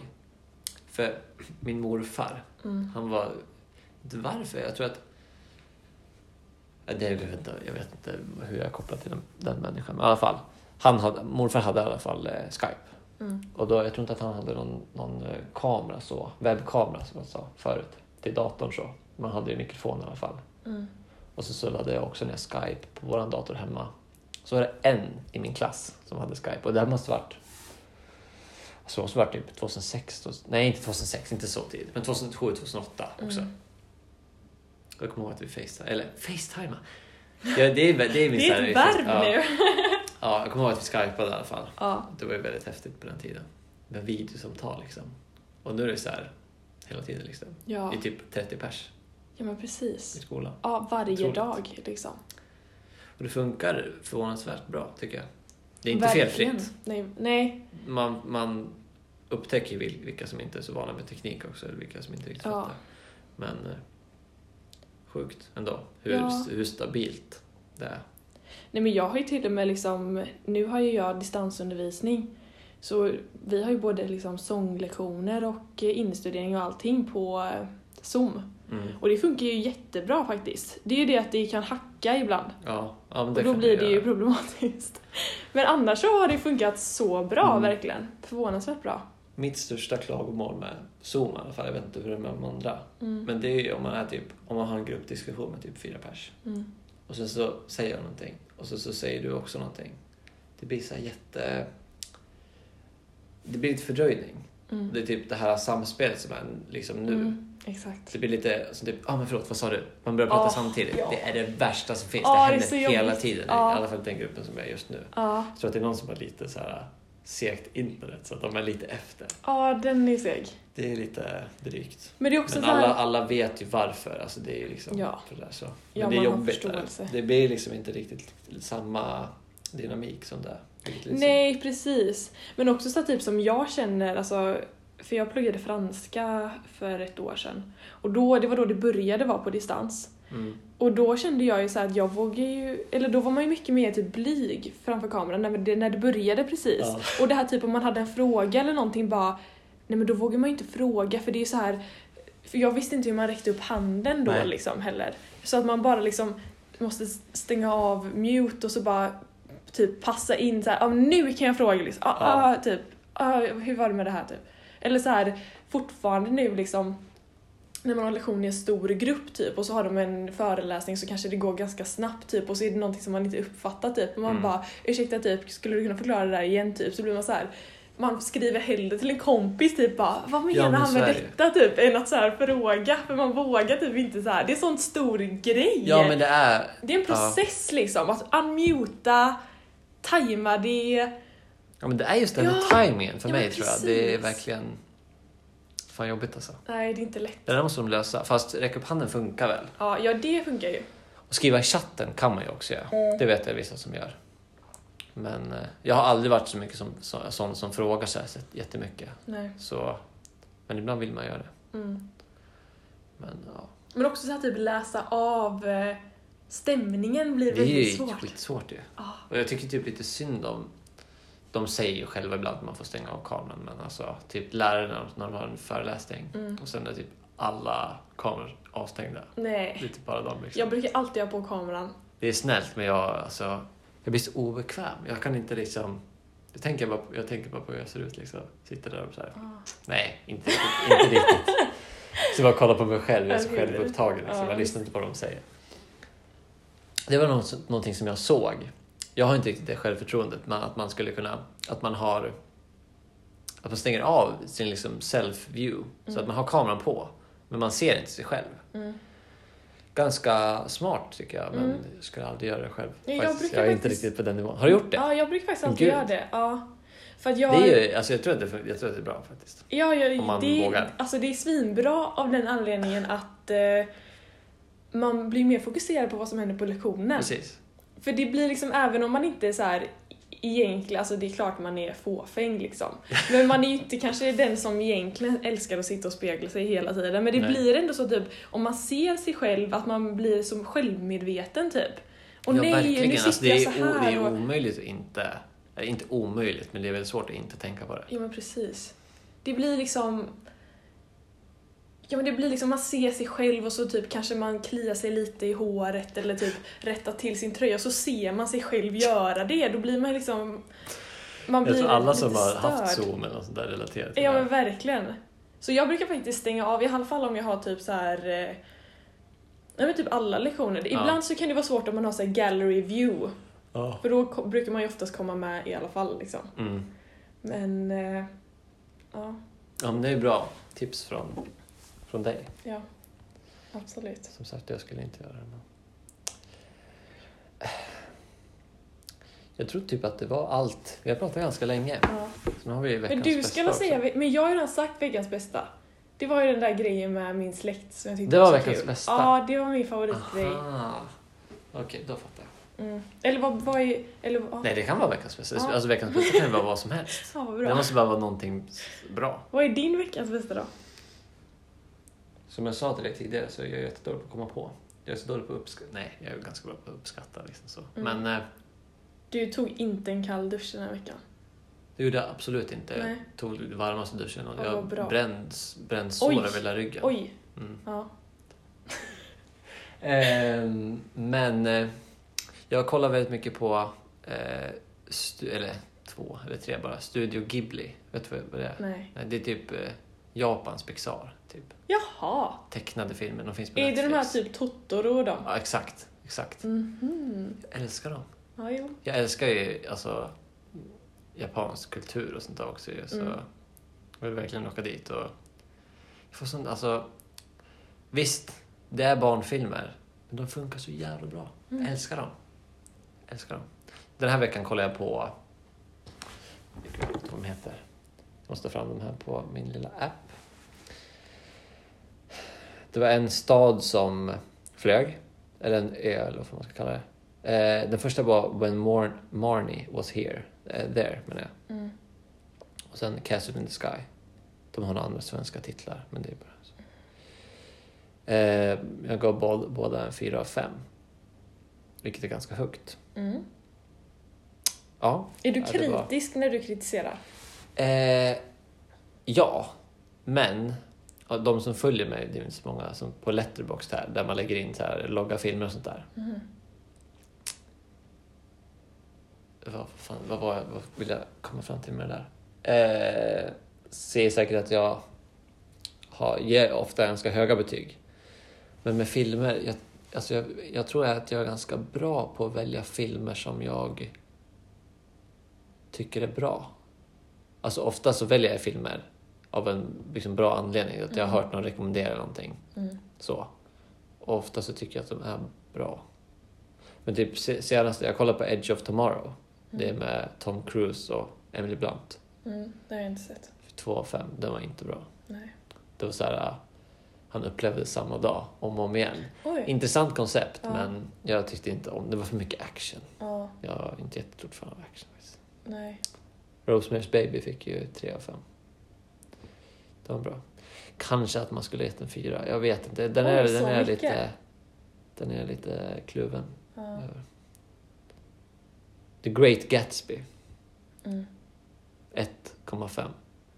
A: för min morfar,
B: Mm.
A: han var... inte Varför? Jag tror att... Ja, Det, jag, vet inte, jag vet inte hur jag kopplar till den, den människan. Men i alla fall, han hade, morfar hade i alla fall eh, Skype.
B: Mm.
A: Och då, jag tror inte att han hade någon, någon eh, kamera så, webbkamera som man sa förut, till datorn så. Man hade ju mikrofon i alla fall.
B: Mm.
A: Och så, så laddade jag också ner Skype på vår dator hemma. Så var det en i min klass som hade Skype och det här måste varit... Alltså det måste varit typ 2006, då- nej inte 2006, inte så tidigt, men 2007, 2008 också.
B: Mm.
A: Jag kommer ihåg att vi facetimade, eller facetimade. Ja, det, är, det, är min
B: Det
A: så
B: är
A: här-
B: ett verb
A: ja,
B: nu.
A: Ja, jag kommer ihåg att vi skypade i alla fall.
B: Ja.
A: Det var ju väldigt häftigt på den tiden. Med videosamtal liksom. Och nu är det så här hela tiden liksom.
B: Ja.
A: Det är typ 30 pers
B: ja, men
A: i
B: precis.
A: skolan.
B: Ja, varje
A: Otroligt.
B: dag liksom.
A: Och det funkar förvånansvärt bra tycker jag. Det är inte
B: Verkligen.
A: felfritt.
B: Nej, nej.
A: Man, man upptäcker ju vil- vilka som inte är så vana med teknik också, eller vilka som inte riktigt
B: Ja.
A: fattar. Men eh, sjukt ändå, hur,
B: Ja.
A: hur stabilt det är.
B: nej, men jag har ju till och med liksom, nu har ju jag distansundervisning. Så vi har ju både liksom sånglektioner och eh, instudering och allting på eh, Zoom.
A: Mm.
B: Och det funkar ju jättebra faktiskt. Det är ju det att det kan hacka ibland.
A: Ja, ja men
B: Och då
A: kan
B: blir
A: man
B: det ju
A: göra.
B: problematiskt. <laughs> Men annars så har det funkat så bra,
A: Mm.
B: verkligen. Förvånansvärt bra.
A: Mitt största klagomål med Zoom i alla fall, jag vet inte hur det är med de andra,
B: Mm.
A: men det är ju om man, är typ, om man har en gruppdiskussion med typ fyra pers
B: Mm.
A: och sen så säger jag någonting och sen så säger du också någonting. Det blir så här jätte... Det blir lite fördröjning.
B: Mm.
A: Det är typ det här samspelet som är liksom nu.
B: Mm. Exakt.
A: Det blir lite som typ, ah men förlåt vad sa du? Man börjar prata
B: Ah,
A: samtidigt.
B: ja.
A: Det är det värsta som finns.
B: Ah,
A: det
B: det är
A: händer
B: så
A: hela
B: jobbigt.
A: tiden.
B: Ah.
A: I alla fall i den gruppen som jag är just nu.
B: Ja,
A: Jag tror att det är någon som har lite så här segt internet så att de är lite efter.
B: ja den är seg.
A: Det är lite drygt.
B: Men det är också
A: Men
B: så här...
A: alla, alla vet ju varför. Alltså det är ju liksom
B: Ja.
A: för det där, så. Men
B: Ja,
A: det är
B: man har
A: jobbigt. Där.
B: förståelse.
A: Det blir liksom inte riktigt samma dynamik som det. vilket liksom- är lite
B: Nej, precis. Men också så här, typ som jag känner, alltså, för jag pluggade franska för ett år sedan. Och då, det var då det började vara på distans.
A: synd. Mm.
B: Och då kände jag ju så här att jag vågar ju, eller då var man ju mycket mer typ blyg framför kameran när det, när det började precis.
A: Ja.
B: Och det här typ om man hade en fråga eller någonting bara, nej men då vågar man ju inte fråga för det är ju så här för jag visste inte hur man räckte upp handen då
A: Nej.
B: liksom heller. Så att man bara liksom måste stänga av mute och så bara typ passa in så här, ah, nu kan jag fråga liksom, ah,
A: Ja.
B: ah, typ, ah, hur var det med det här typ? Eller så här fortfarande nu liksom när man har lektion i en stor grupp typ och så har de en föreläsning så kanske det går ganska snabbt typ och så är det någonting som man inte uppfattar typ och man
A: Mm.
B: bara ursäkta typ skulle du kunna förklara det där igen typ så blir man så här man skriver hellre till en kompis typ bara vad
A: Ja,
B: menar
A: men
B: han
A: så är
B: med
A: det ju.
B: detta typ än att så här fråga för man vågar typ inte så här det är sån stor grej.
A: Ja men det är...
B: Det är en process liksom att unmuta, tajma det.
A: Ja men det är just det här med
B: Ja.
A: tajmingen för
B: Ja, men
A: mig tror jag. Det är
B: precis.
A: verkligen... Fan jobbigt alltså.
B: Nej det är inte lätt.
A: Det där måste de lösa. Fast räcka upp handen funkar väl?
B: Ja, ja det funkar ju.
A: Och skriva i chatten kan man ju också göra. Det vet jag vissa som gör. Men eh, jag har aldrig varit så mycket som, så, sån som frågar så här så jättemycket.
B: Nej.
A: Så, men ibland vill man göra det.
B: Mm.
A: Men ja,
B: Men också så här typ läsa av eh, stämningen blir
A: det är
B: väldigt
A: ju
B: svårt. Ah.
A: skitsvårt ju.
B: Ja.
A: Och jag tycker typ lite synd om... De säger ju själva ibland att man får stänga av kameran men alltså typ lärarna när de har en föreläsning
B: Mm.
A: och sen är typ alla kameror avstängda. Det
B: Nej.
A: är typ bara de liksom.
B: Jag brukar alltid ha på kameran.
A: Det är snällt men jag, alltså, jag blir så obekväm. Jag kan inte liksom... Jag tänker bara, jag tänker bara på hur jag ser ut liksom. Sitter där och så här. Nej, inte riktigt. Inte riktigt. Så bara kolla på mig själv, jag är så
B: Eller hur?
A: självupptagen. Liksom.
B: Ja.
A: Jag lyssnar inte på vad de säger. Det var något, som- någonting som jag såg. Jag har inte riktigt det självförtroendet, men att man skulle kunna... Att man har... Att man stänger av sin liksom self-view, så att man har kameran på, men man ser inte sig själv.
B: Mm.
A: Ganska smart tycker jag, men
B: Mm.
A: jag skulle aldrig göra det själv.
B: Ja, jag
A: faktiskt.
B: brukar
A: jag är inte
B: faktiskt-
A: riktigt på den nivån. Har du gjort det?
B: Ja, jag brukar faktiskt alltid
A: Gud.
B: göra det. Ja. För att jag...
A: det är ju, alltså, jag, tror att det, jag tror att det är bra faktiskt.
B: Ja, jag,
A: Om man
B: det,
A: vågar.
B: Alltså det är svinbra av den anledningen att eh, man blir mer fokuserad på vad som händer på lektionen.
A: Precis.
B: För det blir liksom, även om man inte är så här egentligen, alltså det är klart man är fåfäng liksom.
A: <laughs>
B: Men man är ju inte kanske den som egentligen älskar att sitta och spegla sig hela tiden. Men det
A: Nej.
B: blir ändå så typ, om man ser sig själv, att man blir som självmedveten typ. Och
A: ja,
B: nej,
A: verkligen.
B: nu sitter
A: alltså, det,
B: jag
A: är,
B: så
A: o, det
B: här
A: är
B: och...
A: omöjligt att inte... Eller inte omöjligt, men det är väldigt svårt att inte tänka på det.
B: Ja men precis. Det blir liksom... Ja men det blir liksom, man ser sig själv och så typ kanske man kliar sig lite i håret eller typ rättar till sin tröja så ser man sig själv göra det. Då blir man liksom... Man
A: Jag
B: blir
A: tror alla som
B: lite
A: har
B: störd.
A: haft Zoom eller något sånt där relaterat till
B: Ja
A: det.
B: men verkligen. Så jag brukar faktiskt stänga av, i alla fall om jag har typ så här. eh, Nej men typ alla lektioner.
A: Ja.
B: Ibland så kan det vara svårt om man har så här gallery view.
A: Ja.
B: För då ko- brukar man ju oftast komma med i alla fall liksom.
A: Mm.
B: Men eh, Ja,
A: Ja, men det är bra tips från, från dig.
B: ja. Absolut.
A: Som sagt, jag skulle inte göra det. Men... Jag tror typ att det var allt. Vi har pratat ganska länge.
B: Ja.
A: Så nu har vi veckans
B: Men du
A: bästa
B: ska väl
A: också.
B: säga, men jag har ju redan sagt veckans bästa. Det var ju den där grejen med min släkt som jag tyckte
A: Det var
B: så
A: veckans
B: kul.
A: bästa.
B: Ja, det var min favoritgrej.
A: Aha. Okej, då fattar jag.
B: Mm. Eller vad, vad är, eller vad,
A: Nej, det kan vara veckans bästa.
B: Ja.
A: Alltså veckans bästa kan ju vara vad som helst.
B: ja, vad
A: Det
B: bra.
A: måste bara vara någonting s- bra.
B: Vad är din veckans bästa då?
A: Som jag sa till dig tidigare så är jag jättedålig på att komma på. Jag är så dålig på att uppskatta. Nej, jag är ganska bra på att uppskatta. Liksom så.
B: Mm.
A: Men eh,
B: Du tog inte en kall dusch den här veckan.
A: det gjorde jag absolut inte.
B: Nej.
A: Jag tog den varmaste duschen och
B: Ja,
A: jag
B: vad bra.
A: bränns, bränns sår
B: Oj.
A: över hela ryggen.
B: Oj.
A: Mm.
B: Ja.
A: <laughs> Ehm, men eh, jag kollar väldigt mycket på eh, stu- eller två eller tre bara, Studio Ghibli. Vet du vad det är?
B: Nej.
A: Nej, det är typ eh, Japans Pixar. Typ.
B: Jaha.
A: Tecknade filmer, de finns på
B: Är det
A: Netflix.
B: de här typ Totoro och dem?
A: Ja, exakt. exakt.
B: Mhm.
A: Jag älskar dem.
B: Ja, jo.
A: Jag älskar ju alltså, japansk kultur och sånt där också. ju, Så
B: Mm.
A: Jag vill verkligen åka dit. Och jag får sånt, alltså, visst, det är barnfilmer, men de funkar så jävla bra.
B: Mm.
A: Jag älskar dem. Jag älskar dem. Den här veckan kollar jag på... Jag glömde inte vad de heter. Jag måste ta fram dem här på min lilla app. Det var en stad som flög, eller en ö eller vad man ska kalla det. Eh, den första var When Mar- Marnie was here, eh, there menar jag.
B: Mm.
A: Och sen Castle in the Sky. De har några andra svenska titlar, men det är bara så. Eh, jag gav båda, båda en fyra av fem. Vilket är ganska högt.
B: Mm.
A: Ja.
B: Är du
A: Ja, det var-
B: kritisk när du kritiserar?
A: Eh, ja, men ja, de som följer mig, det är inte så många som på Letterboxd här, där man lägger in så här, logga filmer och sånt där.
B: Mhm.
A: Vad, fan, vad, var jag, vad vill jag komma fram till med det där? Eh, ser säkert att jag har, ger ofta ganska höga betyg. Men med filmer, jag, alltså jag, jag tror att jag är ganska bra på att välja filmer som jag tycker är bra. Alltså ofta så väljer jag filmer av en liksom, bra anledning, att jag har hört någon rekommendera någonting.
B: Mm.
A: Så. Och ofta så tycker jag att de är bra. Men typ se- senast, jag kollade på Edge of Tomorrow. Det är med Tom Cruise och Emily Blunt.
B: Mm. Det har jag inte sett.
A: Två av fem, den var inte bra.
B: Nej.
A: Det var så här, äh, han upplevde samma dag om och om igen.
B: Oj.
A: Intressant koncept,
B: Ja.
A: men jag tyckte inte om det. var för mycket action.
B: Ja.
A: Jag är inte jättestort fan av action faktiskt.
B: Nej.
A: Rosemary's Baby fick ju tre av fem. Det var bra. Kanske att man skulle gett en fyra. jag vet inte. Den
B: Oj,
A: är,
B: så
A: den är
B: mycket.
A: lite... Den är lite kluven.
B: Ja.
A: över. The Great Gatsby,
B: Mm.
A: 1,5.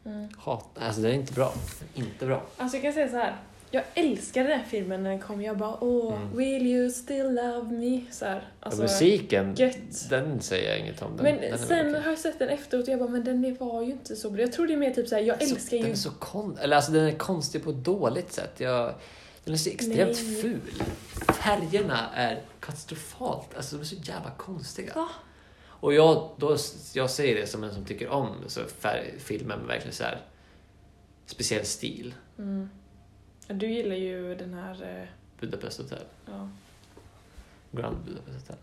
B: Mm.
A: Hat. Alltså den är inte bra. Den är Inte bra.
B: Alltså jag kan säga så här. Jag älskade den här filmen när den kom. Jag bara åh,
A: Mm.
B: will you still love me? Så här. Alltså,
A: ja, musiken,
B: gött.
A: den säger jag inget om. Den,
B: men
A: den är väl
B: sen
A: okej.
B: har jag sett den efteråt och jag bara, men den var ju inte så bra. Jag tror det är mer typ såhär, jag
A: Så-
B: älskar
A: Den
B: ju...
A: är så kon... Eller alltså den är konstig på ett dåligt sätt. Jag... Den är så extremt
B: Nej.
A: ful. Färgerna är katastrofalt. Alltså de är så jävla konstiga.
B: Va?
A: Och jag, då, jag säger det som en som tycker om så färg, filmen med verkligen så här speciell stil.
B: Mm. Du gillar ju den här... eh,
A: Budapest Hotel.
B: Ja.
A: Grand Budapest Hotel.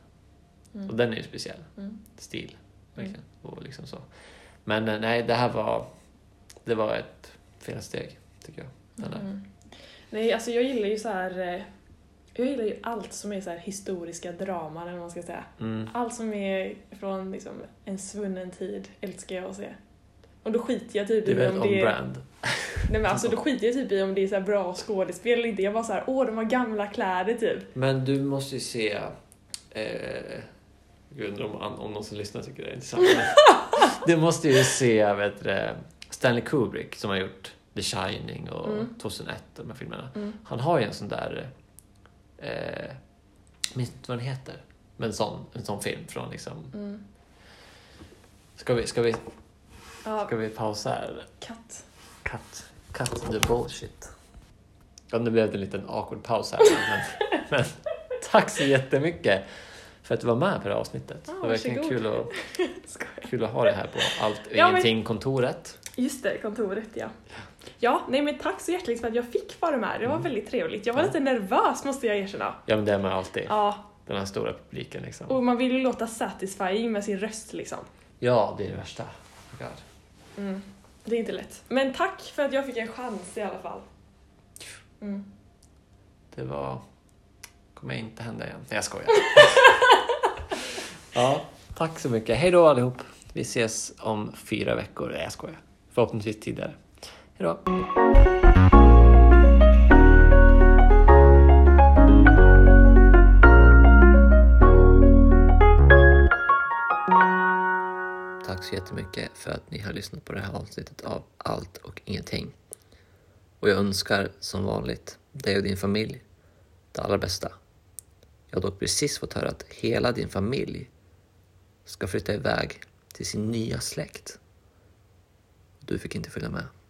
B: Mm.
A: Och den är ju speciell.
B: Mm.
A: Stil. Verkligen. Och liksom så. Men eh, nej, det här var... Det var ett felsteg, tycker jag. Den här.
B: Mm. Nej, alltså jag gillar ju så här. eh, Jag gillar ju allt som är så här historiska draman eller vad man ska säga.
A: Mm.
B: Allt som är från liksom, en svunnen tid älskar jag att se. Och då skiter jag typ
A: Det är
B: i om
A: väldigt
B: det är...
A: on-brand.
B: Nej men alltså då
A: liksom.
B: skiter jag typ i om det är så här bra skådespel eller inte. Jag bara så här, åh de har gamla kläder typ.
A: Men du måste ju se... Eh, jag undrar om, om någon som lyssnar tycker det är intressant.
B: <laughs>
A: du måste ju se vet du, det, Stanley Kubrick som har gjort The Shining och
B: Mm.
A: 2001, de här filmerna.
B: Mm.
A: Han har ju en sån där... Eh, jag minns inte vad den heter. Men en sån, en sån film från liksom...
B: Mm.
A: Ska vi, ska vi,
B: Ja,
A: ska vi pausa här eller?
B: katt.
A: Cut, cut the bullshit. Ja, nu blev det en liten awkward paus här. Men, men tack så jättemycket för att du var med på det här avsnittet.
B: Ja,
A: det var verkligen
B: varsågod.
A: kul att,
B: <laughs> Skojar.
A: kul att ha dig här på allt och
B: Ja, men-
A: ingenting-kontoret.
B: Just det, kontoret ja. Ja, nej men tack så hjärtligt för att jag fick vara med. Det var
A: Mm.
B: väldigt trevligt. Jag var
A: Ja.
B: lite nervös måste jag erkänna.
A: Ja, men det är man alltid.
B: Ja,
A: Den här stora publiken liksom.
B: och man vill ju låta satisfying med sin röst liksom.
A: Ja, det är det värsta. Oh God.
B: Mm. Det är inte lätt. Men tack för att jag fick en chans i alla fall. Mm.
A: Det var... kommer inte hända igen. Nej, jag skojar. <laughs> ja, tack så mycket. Hej då allihop. Vi ses om fyra veckor. Nej, jag skojar. Förhoppningsvis tidigare. Hej då. Tack så jättemycket för att ni har lyssnat på det här avsnittet av Allt och ingenting. Och jag önskar som vanligt dig och din familj det allra bästa. Jag har dock precis fått höra att hela din familj ska flytta iväg till sin nya släkt. Du fick inte följa med.